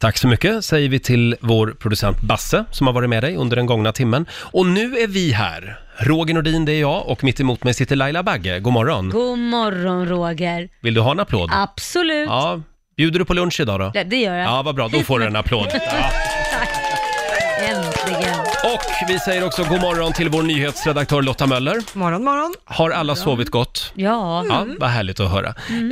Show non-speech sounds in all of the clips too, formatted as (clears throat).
Tack så mycket säger vi till vår producent Basse som har varit med dig under den gångna timmen. Och nu är vi här. Roger Nordin, det är jag och mitt emot mig sitter Laila Bagge. God morgon. God morgon Roger. Vill du ha en applåd? Absolut. Ja. Bjuder du på lunch idag då? Det, det gör jag. Ja, vad bra. Då får du en (laughs) applåd. Ja. Äntligen. Och vi säger också god morgon till vår nyhetsredaktör Lotta Möller. Morgon, morgon. Har alla sovit gott? Ja. Mm. Ja, vad härligt att höra.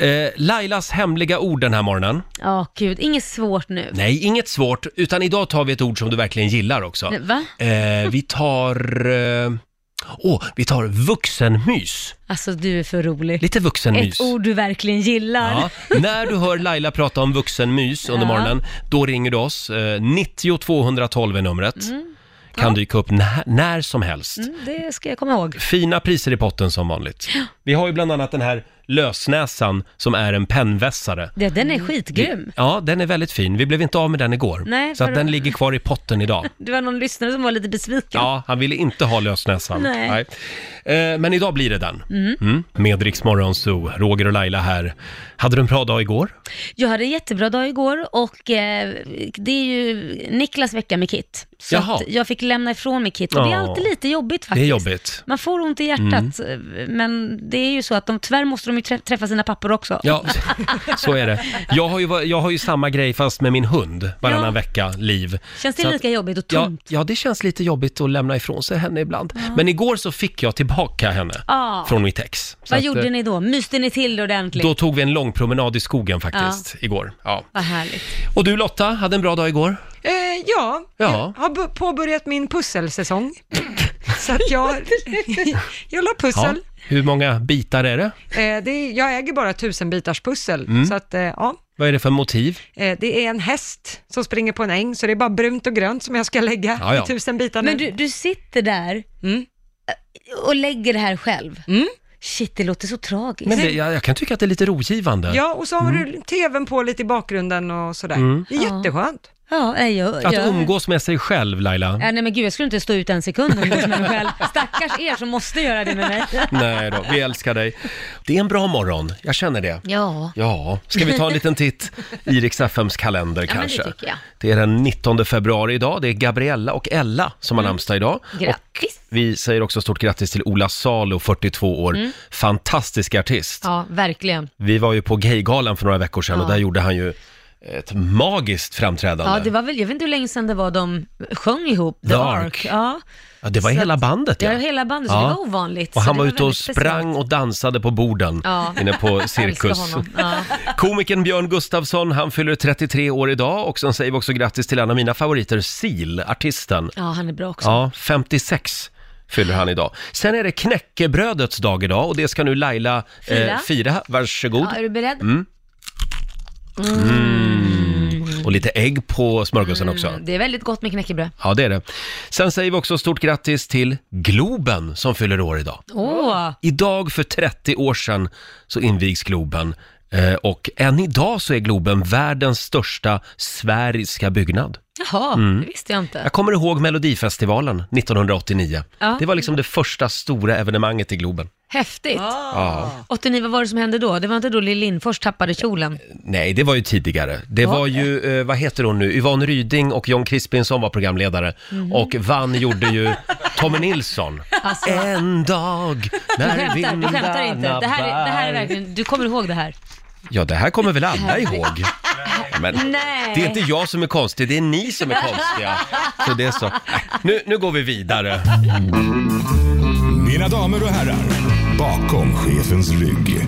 Eh, Lailas hemliga ord den här morgonen. Ja, gud. Inget svårt nu. Nej, inget svårt, utan idag tar vi ett ord som du verkligen gillar också. Nej, Va? Eh, vi tar... eh, Åh, vi tar vuxenmys. Alltså du är för rolig. Lite vuxenmys. Ett ord du verkligen gillar. Ja, när du hör Laila prata om vuxenmys under Ja. morgonen, då ringer du oss. Eh, 90 212 är numret. Kan dyka upp när, när som helst. Mm, det ska jag komma ihåg. Fina priser i potten som vanligt. Vi har ju bland annat den här lösnäsan som är en pennvässare. Det, den Mm. är skitgrym. Ja, den är väldigt fin. Vi blev inte av med den igår. Nej, så att vadå? den ligger kvar i potten idag. Det var någon lyssnare som var lite besviken. Ja, han ville inte ha lösnäsan. Nej. Eh, Men idag blir det den. Mm. Med Rix Morgon Zoo, Roger och Laila här. Hade du en bra dag igår? Jag hade en jättebra dag igår och eh, det är ju Niklas vecka med Kit. Så Jaha. att jag fick lämna ifrån mig Kit och det är Ja. alltid lite jobbigt faktiskt. Det är jobbigt. Man får ont i hjärtat, Mm. men det är ju så att de, tyvärr måste de ju trä- träffa sina pappor också. Ja, så är det. Jag har ju, va- jag har ju samma grej fast med min hund varannan Ja. vecka, Liv. Känns det Så att- lika jobbigt och Ja, tomt? ja, det känns lite jobbigt att lämna ifrån sig henne ibland. Men igår så fick jag tillbaka henne Ja. från mitt ex. Så Vad att, gjorde eh, ni då? Myste ni till det ordentligt? Då tog vi en lång promenad i skogen faktiskt, igår. Ja. Vad härligt. Och du Lotta, hade en bra dag igår? Eh, ja, Ja. jag har bu- påbörjat (laughs) min pusselsäsong. Så att jag, jag la Ja. pussel. Hur många bitar är det? Eh, det är, jag äger bara tusen bitars pussel, Mm. så att eh, ja. Vad är det för motiv? Eh, det är en häst som springer på en äng, så det är bara brunt och grönt som jag ska lägga Ja, ja. i tusen bitar nu. Men du, du sitter där eh, Mm. och lägger det här själv. Mm. Shit, det låter så tragiskt. Men det, jag, jag kan tycka att det är lite rogivande. Ja, och så har du tvn på lite i bakgrunden och sådär. Mm. Det är Ja. jätteskönt. Ja, nej, jag, Att jag... umgås med sig själv, Laila. Ja, nej men gud, jag skulle inte stå ut en sekund om jag var med mig själv. Stackars er som måste göra det med mig. Nej då, vi älskar dig. Det är en bra morgon, jag känner det. Ja. Ja, ska vi ta en liten titt i Rix FMs kalender men det kanske? tycker jag. Det är den 19 februari idag, det är Gabriella och Ella som Mm. har namnsdag idag. Grattis. Och vi säger också stort grattis till Ola Salo, 42 Mm. år. Fantastisk artist. Ja, verkligen. Vi var ju på Gaygalan för några veckor sedan och Ja. där gjorde han ju ett magiskt framträdande. Ja, det var väl, jag vet inte hur länge sedan det var de sjöng ihop, The Dark. Dark. Ja, Ja, det var Så hela att- bandet det var ja. hela bandet, så Ja. det var ovanligt. Och så han det var ute och väldigt speciellt. sprang och dansade på borden Ja. inne på (laughs) Jag älskar cirkus. honom. Ja. Komikern Björn Gustafsson, han fyller 33 år idag och sen säger vi också grattis till en av mina favoriter, Sil, artisten. ja, han är bra också. Ja, 56 fyller han idag. Sen är det knäckebrödets dag idag och det ska nu Laila fira. Fira. Eh, fira. Varsågod. Mm. Ja, är du beredd? Mm. Och lite ägg på smörgåsen också. Det är väldigt gott med knäckebröd. Ja, det är det. Sen säger vi också stort grattis till Globen som fyller år idag. Åh, Mm. Idag för 30 år sedan så invigs Globen eh, och än idag så är Globen världens största sfäriska byggnad. Mm. jaha, det visste jag inte. Jag kommer ihåg Melodifestivalen 1989. Ja. Det var liksom det första stora evenemanget i Globen. Häftigt. Ja. 89, vad var det som hände då? Det var inte då Lill Lindfors tappade kjolen? Nej, det var ju tidigare. Det Var var det? ju, eh, vad heter hon nu, Yvonne Ryding och John Crispinson var programledare Mhm. och vann gjorde (laughs) ju Tommy Nilsson. Alltså. En dag när Du skämtar, du skämtar inte. vindarna Det här, är, det här är bär." verkligen, du kommer ihåg det här? Ja, det här kommer väl alla ihåg. Men Nej. det är inte jag som är konstig, det är ni som är konstiga. Så det är så. Nej, Nu, nu går vi vidare. Mm. Mina damer och herrar, bakom chefens rygg.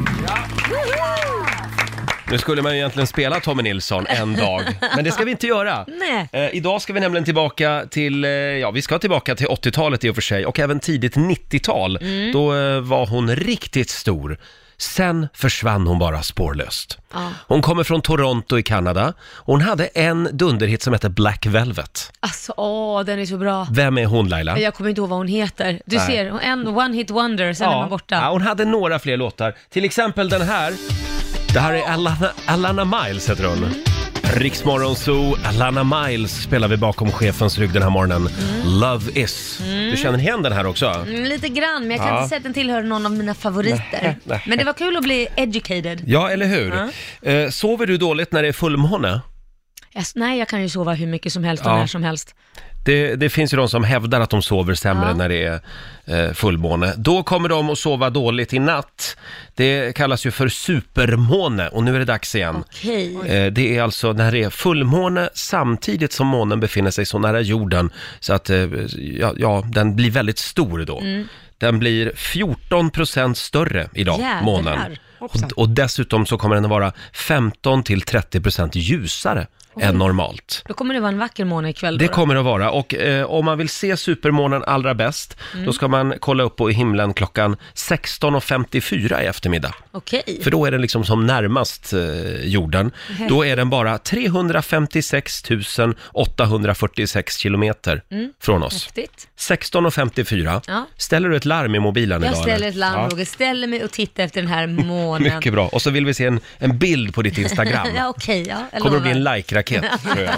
Nu skulle man ju egentligen spela Tommy Nilsson en dag, men det ska vi inte göra. Nej. Eh, idag ska vi nämligen tillbaka till, eh, ja vi ska tillbaka till 80-talet i och för sig och även tidigt 90-tal. Då eh, var hon riktigt stor. Sen försvann hon bara spårlöst. Ja. Hon kommer från Toronto i Kanada och hon hade en dunderhit som hette Black Velvet. Alltså, åh, den är så bra. Vem är hon Laila? Jag kommer inte ihåg vad hon heter. Du Nej. ser, en one hit wonder, sen är man borta. Ja, hon hade några fler låtar. Till exempel den här. Det här är Alana, Alana Miles heter hon. Riksmorgon Zoo, Alana Miles spelar vi bakom chefens rygg den här morgonen. Love is. Du känner igen den här också? Mm, Lite grann, men jag kan Ja. inte säga att den tillhör någon av mina favoriter. Nej, nej. Men det var kul att bli educated. Ja, eller hur? Eh, sover du dåligt när det är fullmåne? Jag, nej, jag kan ju sova hur mycket som helst och Ja. när som helst. Det, det finns ju de som hävdar att de sover sämre när det är eh, fullmåne. Då kommer de att sova dåligt i natt. Det kallas ju för supermåne och nu är det dags igen. Okej. Eh, Det är alltså när det är fullmåne samtidigt som månen befinner sig så nära jorden så att eh, ja, ja, den blir väldigt stor då. Mm. Den blir 14 procent större idag, Jädrar. månen. Och, Hoppsan. och dessutom så kommer den att vara 15 till 30 procent ljusare än normalt. Då kommer det vara en vacker måne ikväll. Det då. kommer det att vara och eh, om man vill se supermånen allra bäst Mm. då ska man kolla upp på himlen klockan 16.54 i eftermiddag. Okej. För då är den liksom som närmast eh, jorden. Då är den bara 356 846 kilometer från oss. Häftigt. 16.54. Mm. Ja. Ställer du ett larm i mobilen Jag idag? ställer eller? ett larm, Roger. Ställer mig och tittar efter den här (laughs) månen. Mycket bra. Och så vill vi se en, en bild på ditt Instagram. (laughs) Ja, okej. ja, jag kommer att bli lovar. en like-raket, (laughs) tror jag.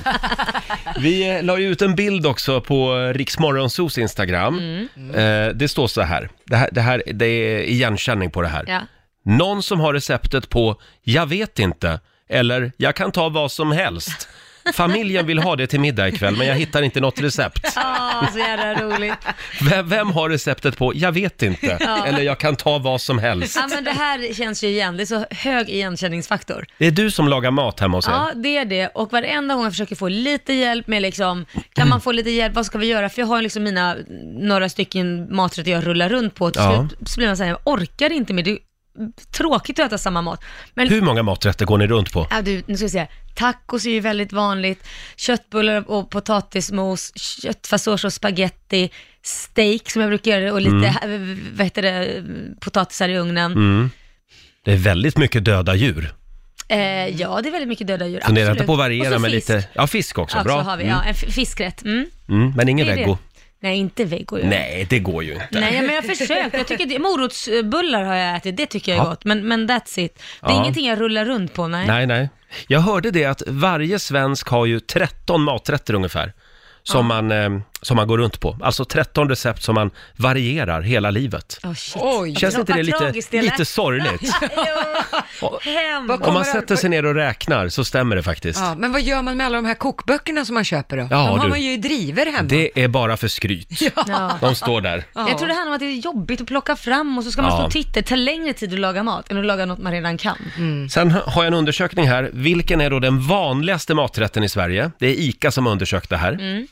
Vi eh, la ju ut en bild också på eh, Riksmorgonsos Instagram. Mm. Eh, det står så här. Det, här, det här, det är igenkänning på det här. Ja. Någon som har receptet på “Jag vet inte” eller “Jag kan ta vad som helst”. Familjen vill ha det till middag ikväll, men jag hittar inte något recept. Ah, så jävla roligt. Vem, vem har receptet på “Jag vet inte” eller “Jag kan ta vad som helst”? Ja, men det här känns ju igen. Det är så hög igenkänningsfaktor. Det är du som lagar mat hemma hos er. Ja, det är det. Och varenda gång jag försöker få lite hjälp med liksom, kan man få lite hjälp, vad ska vi göra? För jag har liksom mina, några stycken maträtter jag rullar runt på. Till Ja. slut så blir man såhär, jag orkar inte mer. Det är tråkigt att äta samma mat. Men Hur många maträtter går ni runt på? Ja, du, nu ska vi se. Tacos är ju väldigt vanligt, köttbullar och potatismos, köttfärssås och spaghetti, steak som jag brukar göra och lite, Mm. eh, vad heter det, potatisar i ugnen. Det är väldigt mycket döda djur. Eh, ja, det är väldigt mycket döda djur. Fundera absolut. inte på att Och variera så med fisk. lite... Ja, fisk också. Ja, Bra. Så har vi, Mm. ja, en f- fiskrätt. Mm. Mm, men ingen Det är vego. det. Nej, inte vego. gör jag. Nej, det går ju inte. Nej, men jag har försökt. Jag tycker det, morotsbullar har jag ätit, det tycker jag är Ja. gott. Men, men that's it. Det är Ja. ingenting jag rullar runt på, nej. Nej, nej. Jag hörde det att varje svensk har ju 13 maträtter ungefär. Som, man, eh, som man går runt på. Alltså 13 recept som man varierar hela livet. Åh, shit. Oj. Känns inte det Vad lite, tragiskt, eller? lite sorgligt? Jo, hem. Vad Om man kommer- sätter sig ner och räknar så stämmer det faktiskt. Ja, men vad gör man med alla de här kokböckerna som man köper då? Ja, de har du. man ju i driver hemma. Det är bara för skryt. (laughs) Ja. (laughs) De står där. Ja. Jag tror det handlar om att det är jobbigt att plocka fram och så ska man Ja. stå och titta. Det tar längre tid att laga mat än att laga något man redan kan. Mm. Sen har jag en undersökning här. Vilken är då den vanligaste maträtten i Sverige? Det är ICA som har undersökt det här. Mm. Mm.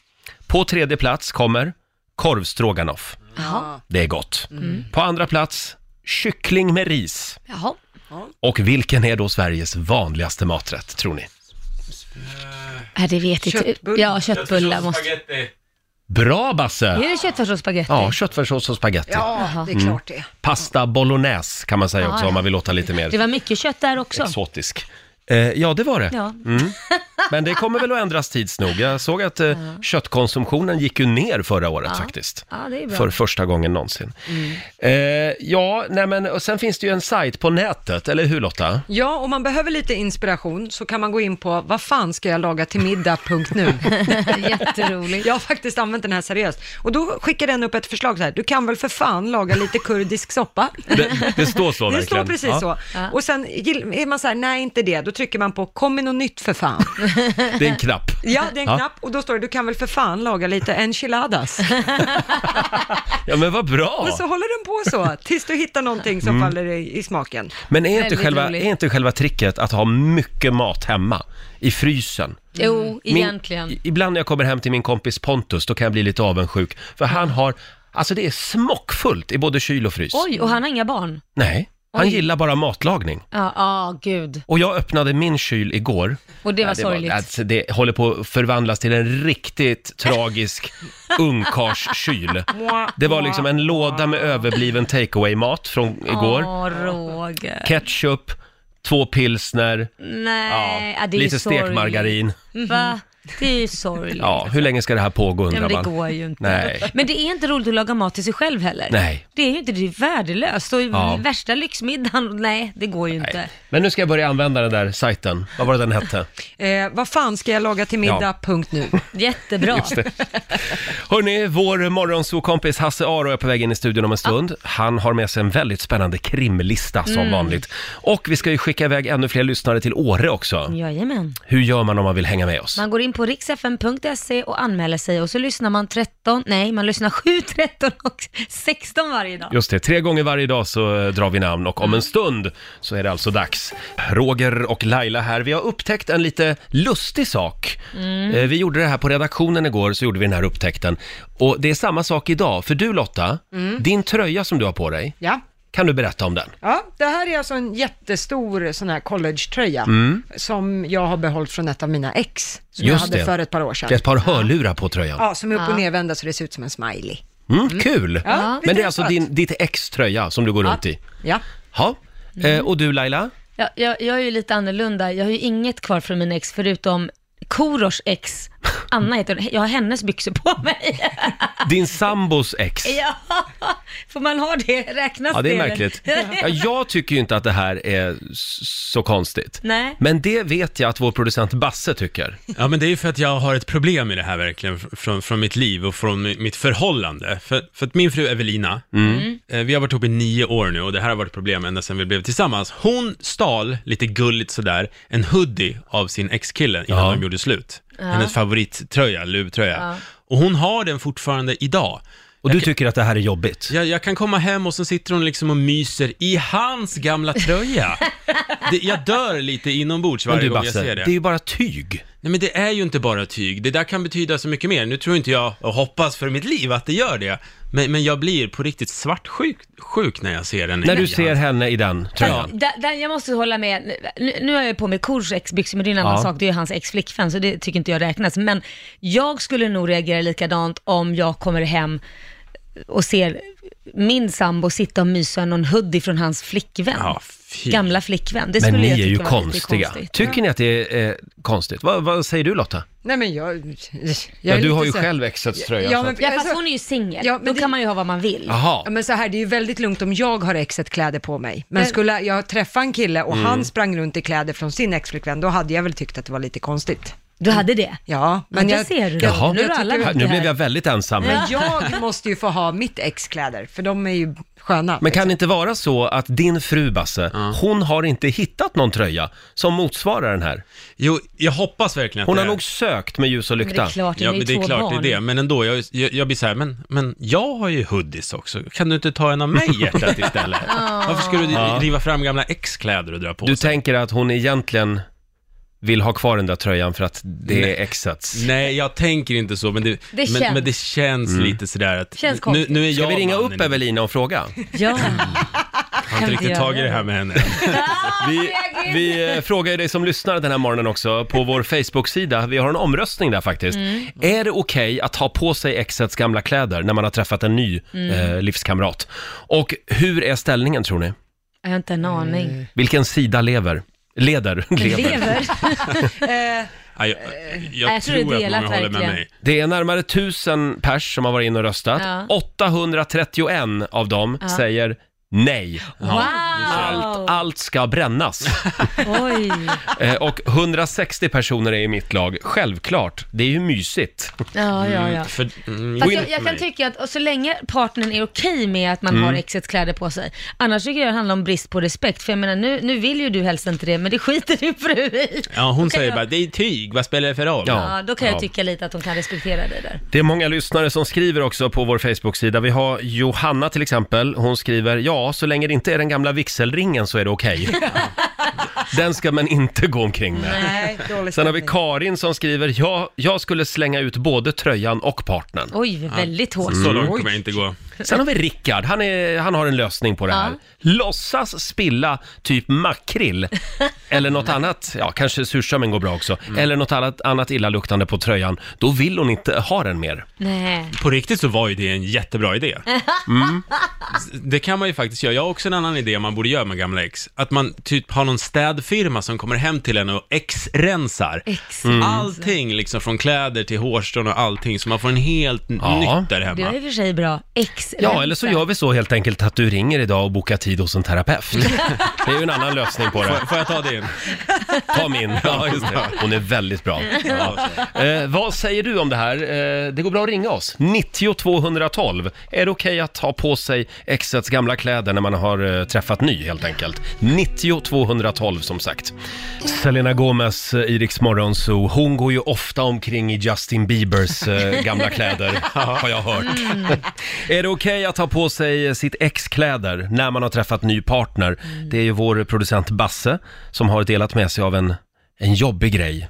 På tredje plats kommer korvstroganoff. Jaha. Det är gott. Mm. På andra plats, kyckling med ris. Jaha. Och vilken är då Sveriges vanligaste maträtt, tror ni? Äh, det vet jag inte. Köttbullar. Ja, köttbullar måste... Bra, Basse! Är det köttfärssås och spagetti? Ja, köttfärssås och spagetti. Mm. Ja, det är klart det. Pasta bolognese kan man säga Ja, också ja. om man vill låta lite Det mer var mycket kött där också. exotisk. Eh, ja, det var det. Ja. Men det kommer väl att ändras tids nog. Jag såg att eh, köttkonsumtionen gick ju ner förra året faktiskt. ja, det är bra. Mm. För första gången någonsin. Eh, ja, nej men, och sen finns det ju en sajt på nätet, eller hur Lotta? Ja, om man behöver lite inspiration så kan man gå in på vad fan ska jag laga till middag punkt nu. Jätteroligt. Jag har faktiskt använt den här seriöst. Och då skickar den upp ett förslag så här, du kan väl för fan laga lite kurdisk soppa? Det, det står så (laughs) Det verkligen. står precis Ja. så. Och sen gill- är man så här, nej inte det, då trycker man på kom med något nytt för fan. (laughs) Det är en knapp. Ja, det är en Ja. knapp och då står det, du kan väl för fan laga lite enchiladas. Ja men vad bra! Och så håller den på så, tills du hittar någonting som faller i, i smaken. Men är inte, Väldigt själva, roligt. är inte själva tricket att ha mycket mat hemma i frysen? Mm. Jo, Min- egentligen. i- ibland när jag kommer hem till min kompis Pontus, då kan jag bli lite avundsjuk. För han har, alltså det är smockfullt i både kyl och frys. Oj, och han har inga barn. Nej, han Oj. gillar bara matlagning. Ja, ah, gud. Och jag öppnade min kyl igår. Och det var Ja, sorgligt. alltså, det håller på att förvandlas till en riktigt (laughs) tragisk ungkarskyl. Det var liksom en låda med överbliven takeaway-mat från igår. Åh, Roger. Ketchup, två pilsner, Nej, ja, det är ju lite sorgligt. stekmargarin. Va? Det är ju sorgligt. Ja, hur länge ska det här pågå Nej, undrar men det man. går ju inte. Nej. Men det är inte roligt att laga mat till sig själv heller. Nej. Det är ju inte, det är värdelöst. Och Ja. värsta lyxmiddagen, nej det går ju inte. Nej. Men nu ska jag börja använda den där sajten. Vad var det den hette? Eh, vad fan ska jag laga till middag? Ja. Punkt nu. Jättebra. Hörni, vår morgonsokompis Hasse Aro är på väg in i studion om en stund. Han har med sig en väldigt spännande krimlista som vanligt. Och vi ska ju skicka iväg ännu fler lyssnare till Åre också. Jajamän. Hur gör man om man vill hänga med oss? Man går in på riksfn.se och anmäler sig och så lyssnar man 13, nej man lyssnar 7, 13 och 16 varje dag. Just det, tre gånger varje dag så eh, drar vi namn och om en stund så är det alltså dags. Roger och Laila här. Vi har upptäckt en lite lustig sak. Mm. Eh, Vi gjorde det här på redaktionen igår, så gjorde vi den här upptäckten. Och det är samma sak idag, för du Lotta, din tröja som du har på dig, Mm. Ja. kan du berätta om den? Ja, det här är alltså en jättestor sån här collegetröja som jag har behållit från ett av mina ex som Mm. jag Just hade det. för ett par år sedan. Det är ett par hörlurar på tröjan. Ja, som är upp och nervända så det ser ut som en smiley. Mm, kul! Ja, Men det lite är alltså sött. din, ditt ex tröja som du går runt i. Ja. Ja. Eh, Och du (laughs) Laila? Jag, jag, jag är ju lite annorlunda, jag har ju inget kvar från min ex förutom Korosh ex, Anna heter hon. jag har hennes byxor på mig. Din sambos ex? (laughs) Ja, får man ha det? Räknas Ja, det är eller? (laughs) märkligt. Ja, jag tycker ju inte att det här är s- så konstigt. Nej. Men det vet jag att vår producent Basse tycker. Ja, men det är ju för att jag har ett problem med det här verkligen, fr- från, från mitt liv och från mi- mitt förhållande. För, för att min fru Evelina, Mm. eh, vi har varit ihop i nio år nu och det här har varit ett problem ända sedan vi blev tillsammans. Hon stal, lite gulligt sådär, en hoodie av sin ex-kille innan Ja. de gjorde slut. Hennes favorittröja, luvtröja. Och hon har den fortfarande idag. Och du tycker att det här är jobbigt. Jag, jag kan komma hem och så sitter hon liksom och myser i hans gamla tröja. det, jag dör lite inombords Men varje du gång jag Basse, ser det är ju bara tyg. Nej men det är ju inte bara tyg, det där kan betyda så mycket mer. Nu tror inte jag, och hoppas för mitt liv, att det gör det. Men, men jag blir på riktigt svartsjuk sjuk när jag ser den. När i du hans- ser henne i den tröjan. Där, där, jag måste hålla med, nu, nu har jag på mig Kors exbyxor, men det är en annan Ja. sak, det är ju hans ex-flickvän, så det tycker inte jag räknas. Men jag skulle nog reagera likadant om jag kommer hem och ser min sambo sitta och mysa i någon hoodie från hans flickvän. Ja, fy. Gamla flickvän. Det Men skulle ni jag är ju tycka var lite konstiga. konstigt. Tycker ni att det är eh, konstigt? Vad, vad säger du Lotta? Nej men jag... jag Ja, är du lite har ju så- själv exets tröja. Ja, så men, att- Ja, alltså, fast hon är ju singel. Ja, men Då det- kan man ju ha vad man vill. Jaha. Ja, men så här, det är ju väldigt lugnt om jag har exet kläder på mig. Men skulle jag träffa en kille och Mm. han sprang runt i kläder från sin exflickvän, då hade jag väl tyckt att det var lite konstigt. Du hade det? Ja, men där jag... ser du. Jaha. Nu är det alla Jag Här, Nu mot det blev här. jag väldigt ensam. här. Men jag måste ju få ha mitt ex kläder, för de är ju sköna. Men kan det inte vara så att din fru Basse, hon har inte hittat någon tröja som motsvarar den här? Jo, jag hoppas verkligen att Hon det har är- nog sökt med ljus och Men det lykta. är klart, Ja, ni men det är två klart barn. det är det, men ändå, jag, jag, jag blir så här, men, men jag har ju hoodies också, kan du inte ta en av mig hjärtat (laughs) istället? Varför ska du riva fram gamla ex-kläder och dra på Du sig? tänker att hon egentligen vill ha kvar den där tröjan för att det Nej. är exets? Nej, jag tänker inte så, men det, Det men, känns. men det känns lite sådär att... Känns nu, konstigt. nu är Mm. Ska jag vi ringa mannen upp i- Evelina (laughs) och fråga? Ja. Jag har inte riktigt tagit det här med (laughs) henne. eh, Vi, vi eh, frågar ju dig som lyssnar den här morgonen också på vår Facebook-sida. Vi har en omröstning där faktiskt. Mm. Är det okej att ta på sig exets gamla kläder när man har träffat en ny Mm. eh, livskamrat? Och hur är ställningen tror ni? Jag har inte en aning. Vilken sida lever? Leder? Lever. Lever? (laughs) Eh, Ja, jag, jag, jag tror tror, det är att delat många håller med verkligen. mig. Det är närmare 1000 pers som har varit inne och röstat. Ja. 831 av dem säger nej. Wow! Allt, allt ska brännas. Oj. Eh, och 160 personer är i mitt lag. Självklart, det är ju mysigt. Ja, ja, ja. För, mm, Fast gå in jag, jag för kan mig. tycka att och så länge partnern är okej med att man Mm. har exets kläder på sig, annars tycker jag det handlar om brist på respekt. För jag menar, nu, nu vill ju du helst inte det, men det skiter din fru i. Ja, hon kan säger jag- bara, det är tyg, vad spelar det för roll? Ja. Ja, då kan jag Ja. tycka lite att hon kan respektera dig där. Det är många lyssnare som skriver också på vår Facebook-sida. Vi har Johanna till exempel. Hon skriver, ja, så länge det inte är den gamla vigselringen så är det (laughs) okej. den ska man inte gå omkring med. Nej, dålig Sen har vi stämning. Karin som skriver, ja, jag skulle slänga ut både tröjan och partnern. Oj, väldigt hårt. Så långt kommer jag inte gå. Sen har vi Rickard, han, är, han har en lösning på det här. Låtsas spilla typ (laughs) makrill eller något annat, ja kanske surströmming går bra också, Mm. eller något annat, annat illaluktande på tröjan. Då vill hon inte ha den mer. Nej. På riktigt så var ju det en jättebra idé. Mm. (laughs) S- Det kan man ju faktiskt göra. Jag har också en annan idé man borde göra med gamla ex. Att man typ har har någon städfirma som kommer hem till en och X-rensar. Exakt. Allting liksom från kläder till hårstrån och allting, så man får en helt n- Ja. nytt där Det hemma. var ju i och för sig bra. Ex Ja, eller så gör vi så helt enkelt att du ringer idag och bokar tid hos en terapeut. Det är ju en annan lösning på det. Får, får jag ta din? Ta min. Ja, just det. Hon är väldigt bra. Ja. Eh, vad säger du om det här? Eh, det går bra att ringa oss. 90 212. Är det okej att ha på sig exets gamla kläder när man har eh, träffat ny helt enkelt? 90 212 som sagt. Selena Gomez eh, i Rix Morgon Zoo, hon går ju ofta omkring i Justin Biebers eh, gamla kläder, har jag hört. är det okej att ha på sig eh, sitt ex-kläder när man har träffat ny partner? Mm. Det är ju vår producent Basse som har delat med sig av en en jobbig grej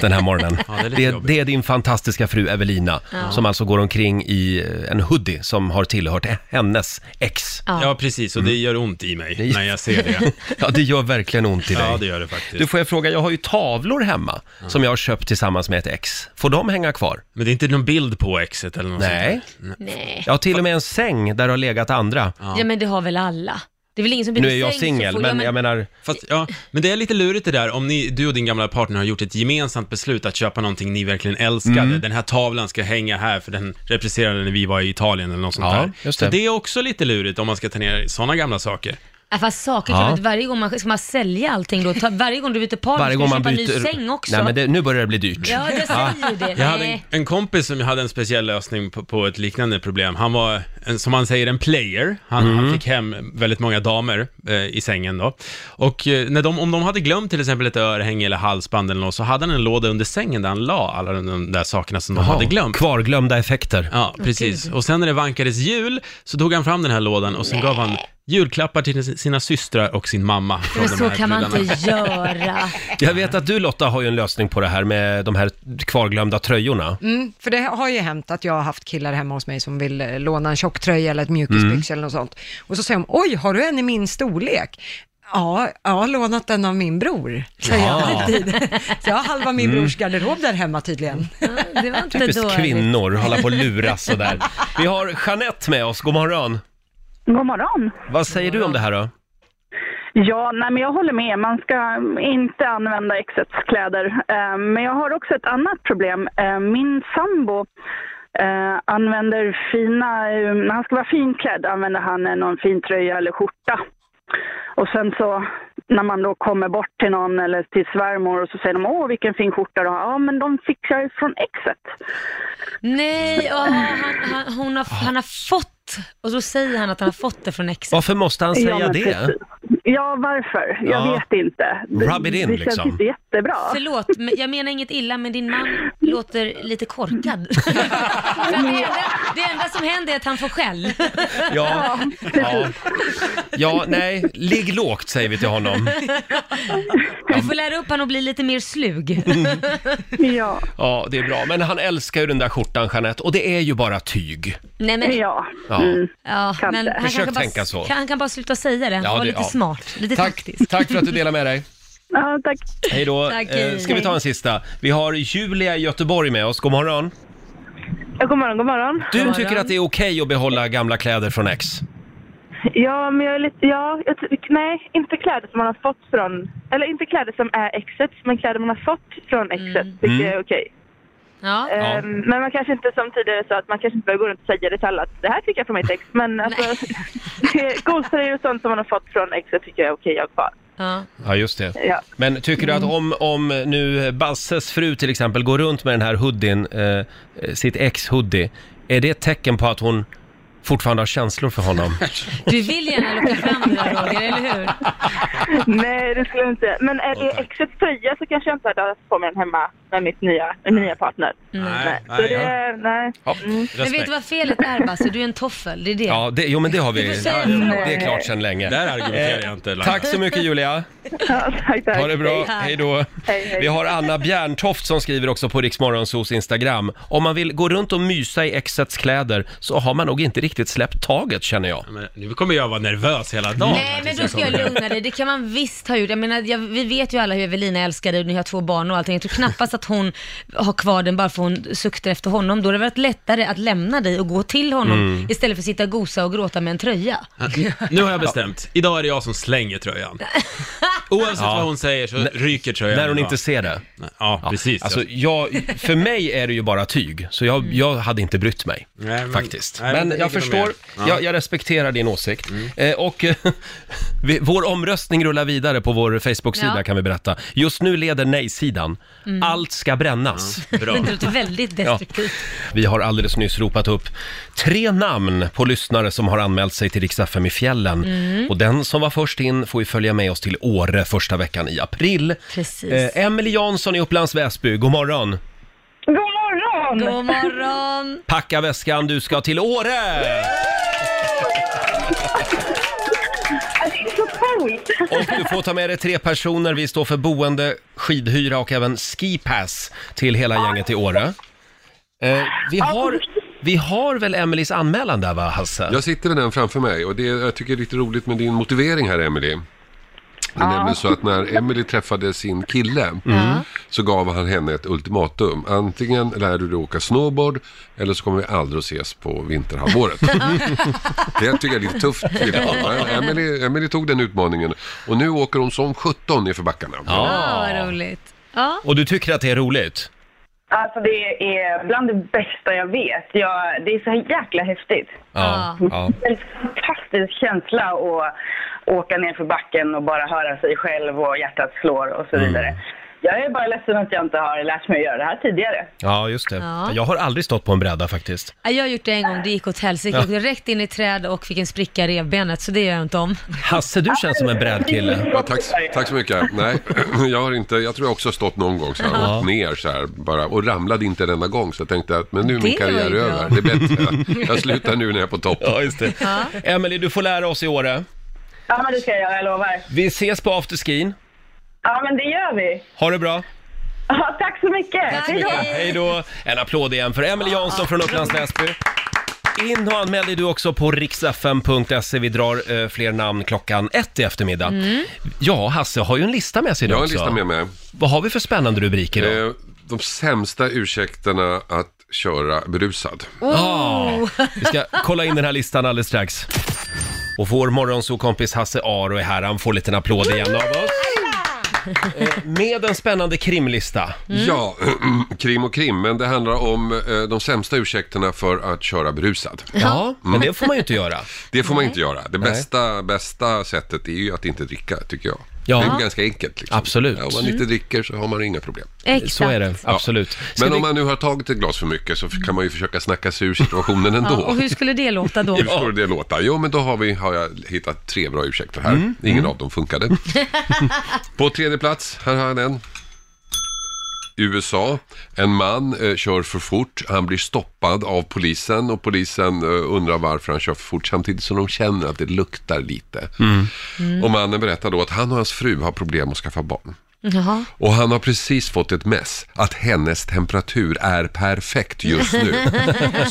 den (laughs) här morgonen. det är lite det, är jobbigt. det är din fantastiska fru Evelina som alltså går omkring i eh, en hoodie som har tillhört hennes ex. Mm. Ja. ja, precis, och det gör ont i mig gör- när jag ser det. (laughs) Ja, det gör verkligen ont i dig. Ja, det gör det faktiskt. Du får jag fråga, jag har ju tavlor hemma som jag har köpt tillsammans med ett ex. Får de hänga kvar? Men det är inte någon bild på exet eller något Nej. sånt Nej. Jag har till och med en säng där det har legat andra. Ja. men det har väl alla. Det är väl ingen som byter Nu är jag säng så singel, fort. Ja, men jag menar, där. Fast, ja, men det är lite lurigt det där om ni, du och din gamla partner har gjort ett gemensamt beslut att köpa någonting ni verkligen älskade. Mm. Den här tavlan ska hänga här för den representerade när vi var i Italien eller något sånt Ja, där. just Så det. det är också lite lurigt om man ska ta ner sådana gamla saker. Ja, fast saker, Ja. ja. varje gång man, ska man sälja allting då? Ta, varje gång du byter par, varje ska gång du man köpa byter... ny säng också. Nej, men det, nu börjar det bli dyrt. Ja, jag säger ju det. Jag hade en, Nej. en kompis som hade en speciell lösning på, på ett liknande problem. Han var, en, som man säger, en player. Han, Mm. han fick hem väldigt många damer eh, i sängen då. Och eh, när de, om de hade glömt till exempel ett örhänge eller halsband eller något, så hade han en låda under sängen där han la alla de- de där sakerna som de hade glömt. Kvarglömda effekter. Ja, precis. Och sen när det vankades jul så tog han fram den här lådan och sen gav han julklappar till sina systrar och sin mamma. från Men de så här kan man prylarna. inte göra. Jag vet att du Lotta har ju en lösning på det här med de här kvarglömda tröjorna. Mm, för det har ju hänt att jag har haft killar hemma hos mig som vill eh, låna en tjocktröja eller ett Mm. mjukisbyx eller något sånt. Och så säger de, oj, har du en i min storlek? Ja, jag har lånat den av min bror, säger jag Ja. alltid. (laughs) Så jag har halva min brors garderob där hemma tydligen. Ja, Det var inte Mm. Typiskt dåligt. kvinnor, hålla på och luras sådär. Vi har Jeanette med oss, god morgon. God morgon. Vad säger du om det här då? Ja, nej, men jag håller med. Man ska inte använda exets kläder. Eh, Men jag har också ett annat problem. Eh, Min sambo eh, använder fina... eh, När han ska vara finklädd använder han eh, någon fin tröja eller skjorta. Och sen så när man då kommer bort till någon eller till svärmor och så säger de åh vilken fin skjorta du har. Ja men de fick jag från exet. Nej, åh, han, han, hon har, han har fått, och så säger han att han har fått det från exet. Varför måste han säga ja, men det? precis. Ja varför? Jag Ja. vet inte. Det- Rub it in, Det känns liksom. inte jättebra. Förlåt, men jag menar inget illa, men din man låter (laughs) lite korkad. För att det, enda, det enda som händer är att han får skäll. Ja, ja. precis. ja, nej, ligg lågt säger vi till honom. Du får lära upp honom att bli lite mer slug. Ja. Ja, det är bra. Men han älskar ju den där skjortan Jeanette, och det är ju bara tyg. Nej, men, ja, Ja. Ja. Mm. men han, Försök kanske bara, tänka så. kan- han kan bara sluta säga det. Han Ja, var det- lite ja. smart, lite Tack, taktisk. tack för att du delar med dig. ja, tack. Hej då. Tack, Eh, Ska vi hej. ta en sista? Vi har Julia i Göteborg med oss, god morgon. Ja, God morgon, god morgon. Du morgon. tycker att det är okej att behålla gamla kläder från ex? Ja, men jag är lite... Ja, jag, ty- nej, inte kläder som man har fått från... Eller inte kläder som är exet, men kläder man har fått från exet tycker jag är okej. Mm. Ja. Ja. Ehm, men man kanske inte, som tidigare sa, att man kanske inte behöver gå runt och säga det till alla att det här fick jag från mitt ex. Men alltså, golftröjor och sånt som man har fått från exet tycker jag är okej att ha kvar. Ja. Ja, just det. Ja. Men tycker du att Mm. om, om nu Basses fru till exempel går runt med den här hoodien, eh, sitt ex-hoodie, är det ett tecken på att hon fortfarande har känslor för honom? Du vill gärna locka fram det där Roger, eller hur? (laughs) Nej, det skulle jag inte. Men är det Åh, tack. exets tröja så kanske jag inte hade haft på mig den hemma med mitt nya, med min nya partner. Nej, Så nej, (laughs) ja. det, nej. Ja, Mm. Men vet du Respekt. vad felet är Basse? Du är en toffel, det är det. ja det, jo men det har vi. Du får säga förlåt. Det är klart sedan länge. Eh, Där argumenterar jag inte. Laila. Tack så mycket Julia. Ja, tack, tack. Ha det bra. Tack. Hej då. Hej, hej. Vi har Anna Bjärntoft som skriver också på Riksmorgonsos Instagram. Om man vill gå runt och mysa i exets kläder så har man nog inte riktigt släppt taget känner jag. Men nu kommer jag vara nervös hela dagen. Nej men då ska jag lugna dig, det kan man visst ha gjort. Jag menar, jag, vi vet ju alla hur Evelina älskar dig och ni har två barn och allting. Jag tror knappast att hon har kvar den bara för hon suktar efter honom. Då har det varit lättare att lämna dig och gå till honom Mm. istället för att sitta och gosa och gråta med en tröja. Nu har jag bestämt. Idag är det jag som slänger tröjan. Oavsett Ja. vad hon säger så ryker tröjan. När hon Ja. inte ser det. Ja, precis. Alltså, jag, för mig är det ju bara tyg, så jag, jag hade inte brytt mig. Mm. Nej, men- faktiskt. nej, men det jag ligger förstår, nog Mm. med. jag, jag respekterar din åsikt. Eh, och (laughs) vi, vår omröstning rullar vidare på vår Facebook-sida Ja. Mm. kan vi berätta. Just nu leder nej-sidan. Allt ska brännas. Bra. (laughs) Det låter väldigt destruktivt. Vi har alldeles nyss ropat upp tre namn på lyssnare som har anmält sig till Rix FM i fjällen. Och den som var först in får ju följa med oss till Åre första veckan i april. Precis. Eh, Emily Jansson i Upplands Väsby, god morgon! God morgon! God morgon! Packa väskan, du ska till Åre! Alltså, det är så coolt! Och du får ta med dig tre personer. Vi står för boende, skidhyra och även skipass till hela gänget i Åre. Eh, vi, har, vi har väl Emelies anmälan där va, Hasse? Jag sitter med den framför mig och det jag tycker är lite roligt med din motivering här Emily. Det är nämligen så att när Emily träffade sin kille Mm. så gav han henne ett ultimatum. Antingen lär du dig åka snowboard eller så kommer vi aldrig att ses på (laughs) vinterhalvåret. det tycker jag är lite tufft. Ja. Emily, Emily tog den utmaningen och nu åker hon som 17 nerför backarna. Ja, vad roligt. Ja, Och du tycker att det är roligt? Alltså det är bland det bästa jag vet. Jag, det är så jäkla häftigt. Ja. ja. En fantastisk känsla att åka ner för backen och bara höra sig själv och hjärtat slår och så Mm. vidare. Jag är bara ledsen att jag inte har lärt mig att göra det här tidigare. Ja, just det. Ja. Jag har aldrig stått på en bräda faktiskt. jag har gjort det en gång, det gick åt helsike. Jag åkte rätt in i träd och fick en spricka i revbenet, så det gör jag inte om. Hasse, du känns som en brädkille. Ja, tack, tack så mycket. Nej, (laughs) jag har inte, jag tror jag också har stått någon gång så här, åkt ner så här bara och ramlade inte denna gång så jag tänkte att men nu är min Det var ju karriär bra. över. Det är bättre. Jag slutar nu när jag är på topp. Ja, just det. Emily, du får lära oss i Åre. Ja men det ska jag göra, jag lovar. Vi ses på afterskin. Ja men det gör vi. Ha det bra! Ja, tack så mycket. Hej då. Hej då! En applåd igen för Emily Jansson från Upplands Näsby. In och anmäl dig du också på riksfm.se. Vi drar eh, fler namn klockan ett i eftermiddag. Mm. Ja, Hasse har ju en lista med sig Jag idag har en också. lista med mig. Vad har vi för spännande rubriker idag? Eh, De sämsta ursäkterna att köra berusad. Oh. Ja, vi ska kolla in den här listan alldeles strax. Och vår morgonsokompis Hasse Aro är här. Han får en liten applåd igen av oss. Eh, Med en spännande krimlista. Mm. Mm. Ja, (clears throat) krim och krim, men det handlar om eh, de sämsta ursäkterna för att köra berusad. Mm. Ja, men det får man ju inte göra. (laughs) Det får man inte göra. Det bästa, bästa sättet är ju att inte dricka, tycker jag. Ja. Det är ju ganska enkelt. Liksom. Absolut. Ja, om man inte dricker så har man inga problem. Mm. Exakt. Så är det, absolut. Ska Men vi- om man nu har tagit ett glas för mycket så kan man ju försöka snacka (laughs) sig ur situationen ändå. Ja, och hur skulle det låta (laughs) då? Hur skulle det låta? Jo, men då har, vi, har jag hittat tre bra ursäkter här. Ingen av dem funkade. På tredje plats, här har jag den. USA. En man eh, kör för fort. Han blir stoppad av polisen och polisen eh, undrar varför han kör för fort samtidigt som de känner att det luktar lite. Mm. Och mannen berättar då att han och hans fru har problem att skaffa barn. Jaha. Och han har precis fått ett mess att hennes temperatur är perfekt just (laughs) nu.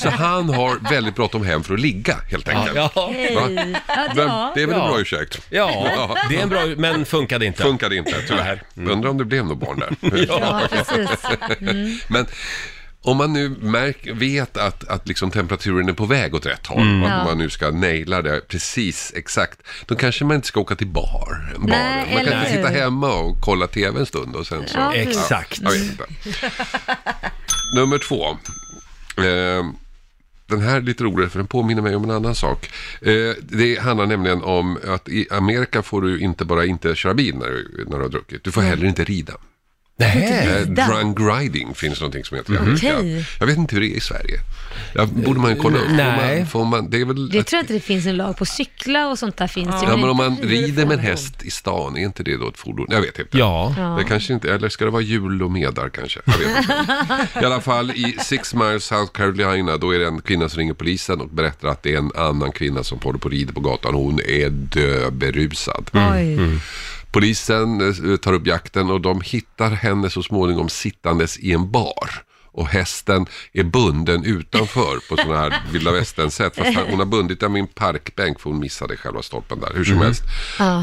Så han har väldigt bråttom hem för att ligga helt enkelt. Ja, Va? Men, Ja. det är väl Ja. en bra ursäkt. (laughs) ja, det är en bra... Men funkade inte. Mm. Funkade inte tyvärr. Undrar om det blev något barn (laughs) där. Ja, precis. Mm. Men om man nu märk, vet att, att liksom temperaturen är på väg åt rätt håll, Mm. och att Ja. man nu ska naila det precis exakt, då kanske man inte ska åka till bar. baren. Nej, man kan eller inte sitta hur? hemma och kolla tv en stund och sen så... Ja, Exakt. Jag vet (laughs) inte. Nummer två. Eh, den här är lite roligare för den påminner mig om en annan sak. Eh, det handlar nämligen om att i Amerika får du inte bara inte köra bil när du, när du har druckit. Du får heller inte rida. Nej. Eh, Rida? drunk riding finns någonting som Mhm. heter i Amerika. Okej. Jag vet inte hur det är i Sverige. Ja, borde man ju kolla upp. Får Nej. Man, får man, det är väl... Det tror jag inte det finns en lag på. Cykla och sånt där finns ju. Ja, men om (laughs) man inte rider rider med en fordon. häst i stan, är inte det då ett fordon? Jag vet inte. Ja. Det kanske inte, eller ska det vara jul och medar kanske? Jag vet inte. I alla fall i Six Miles South Carolina, då är det en kvinna som ringer polisen och berättar att det är en annan kvinna som håller på och rider på gatan. Hon är döberusad. Oj. Polisen eh, tar upp jakten och de hittar henne så småningom sittandes i en bar. och hästen är bunden utanför på sådana här vilda västern-sätt. Fast han- hon har bundit den vid en parkbänk för hon missade själva stolpen där, hur som helst.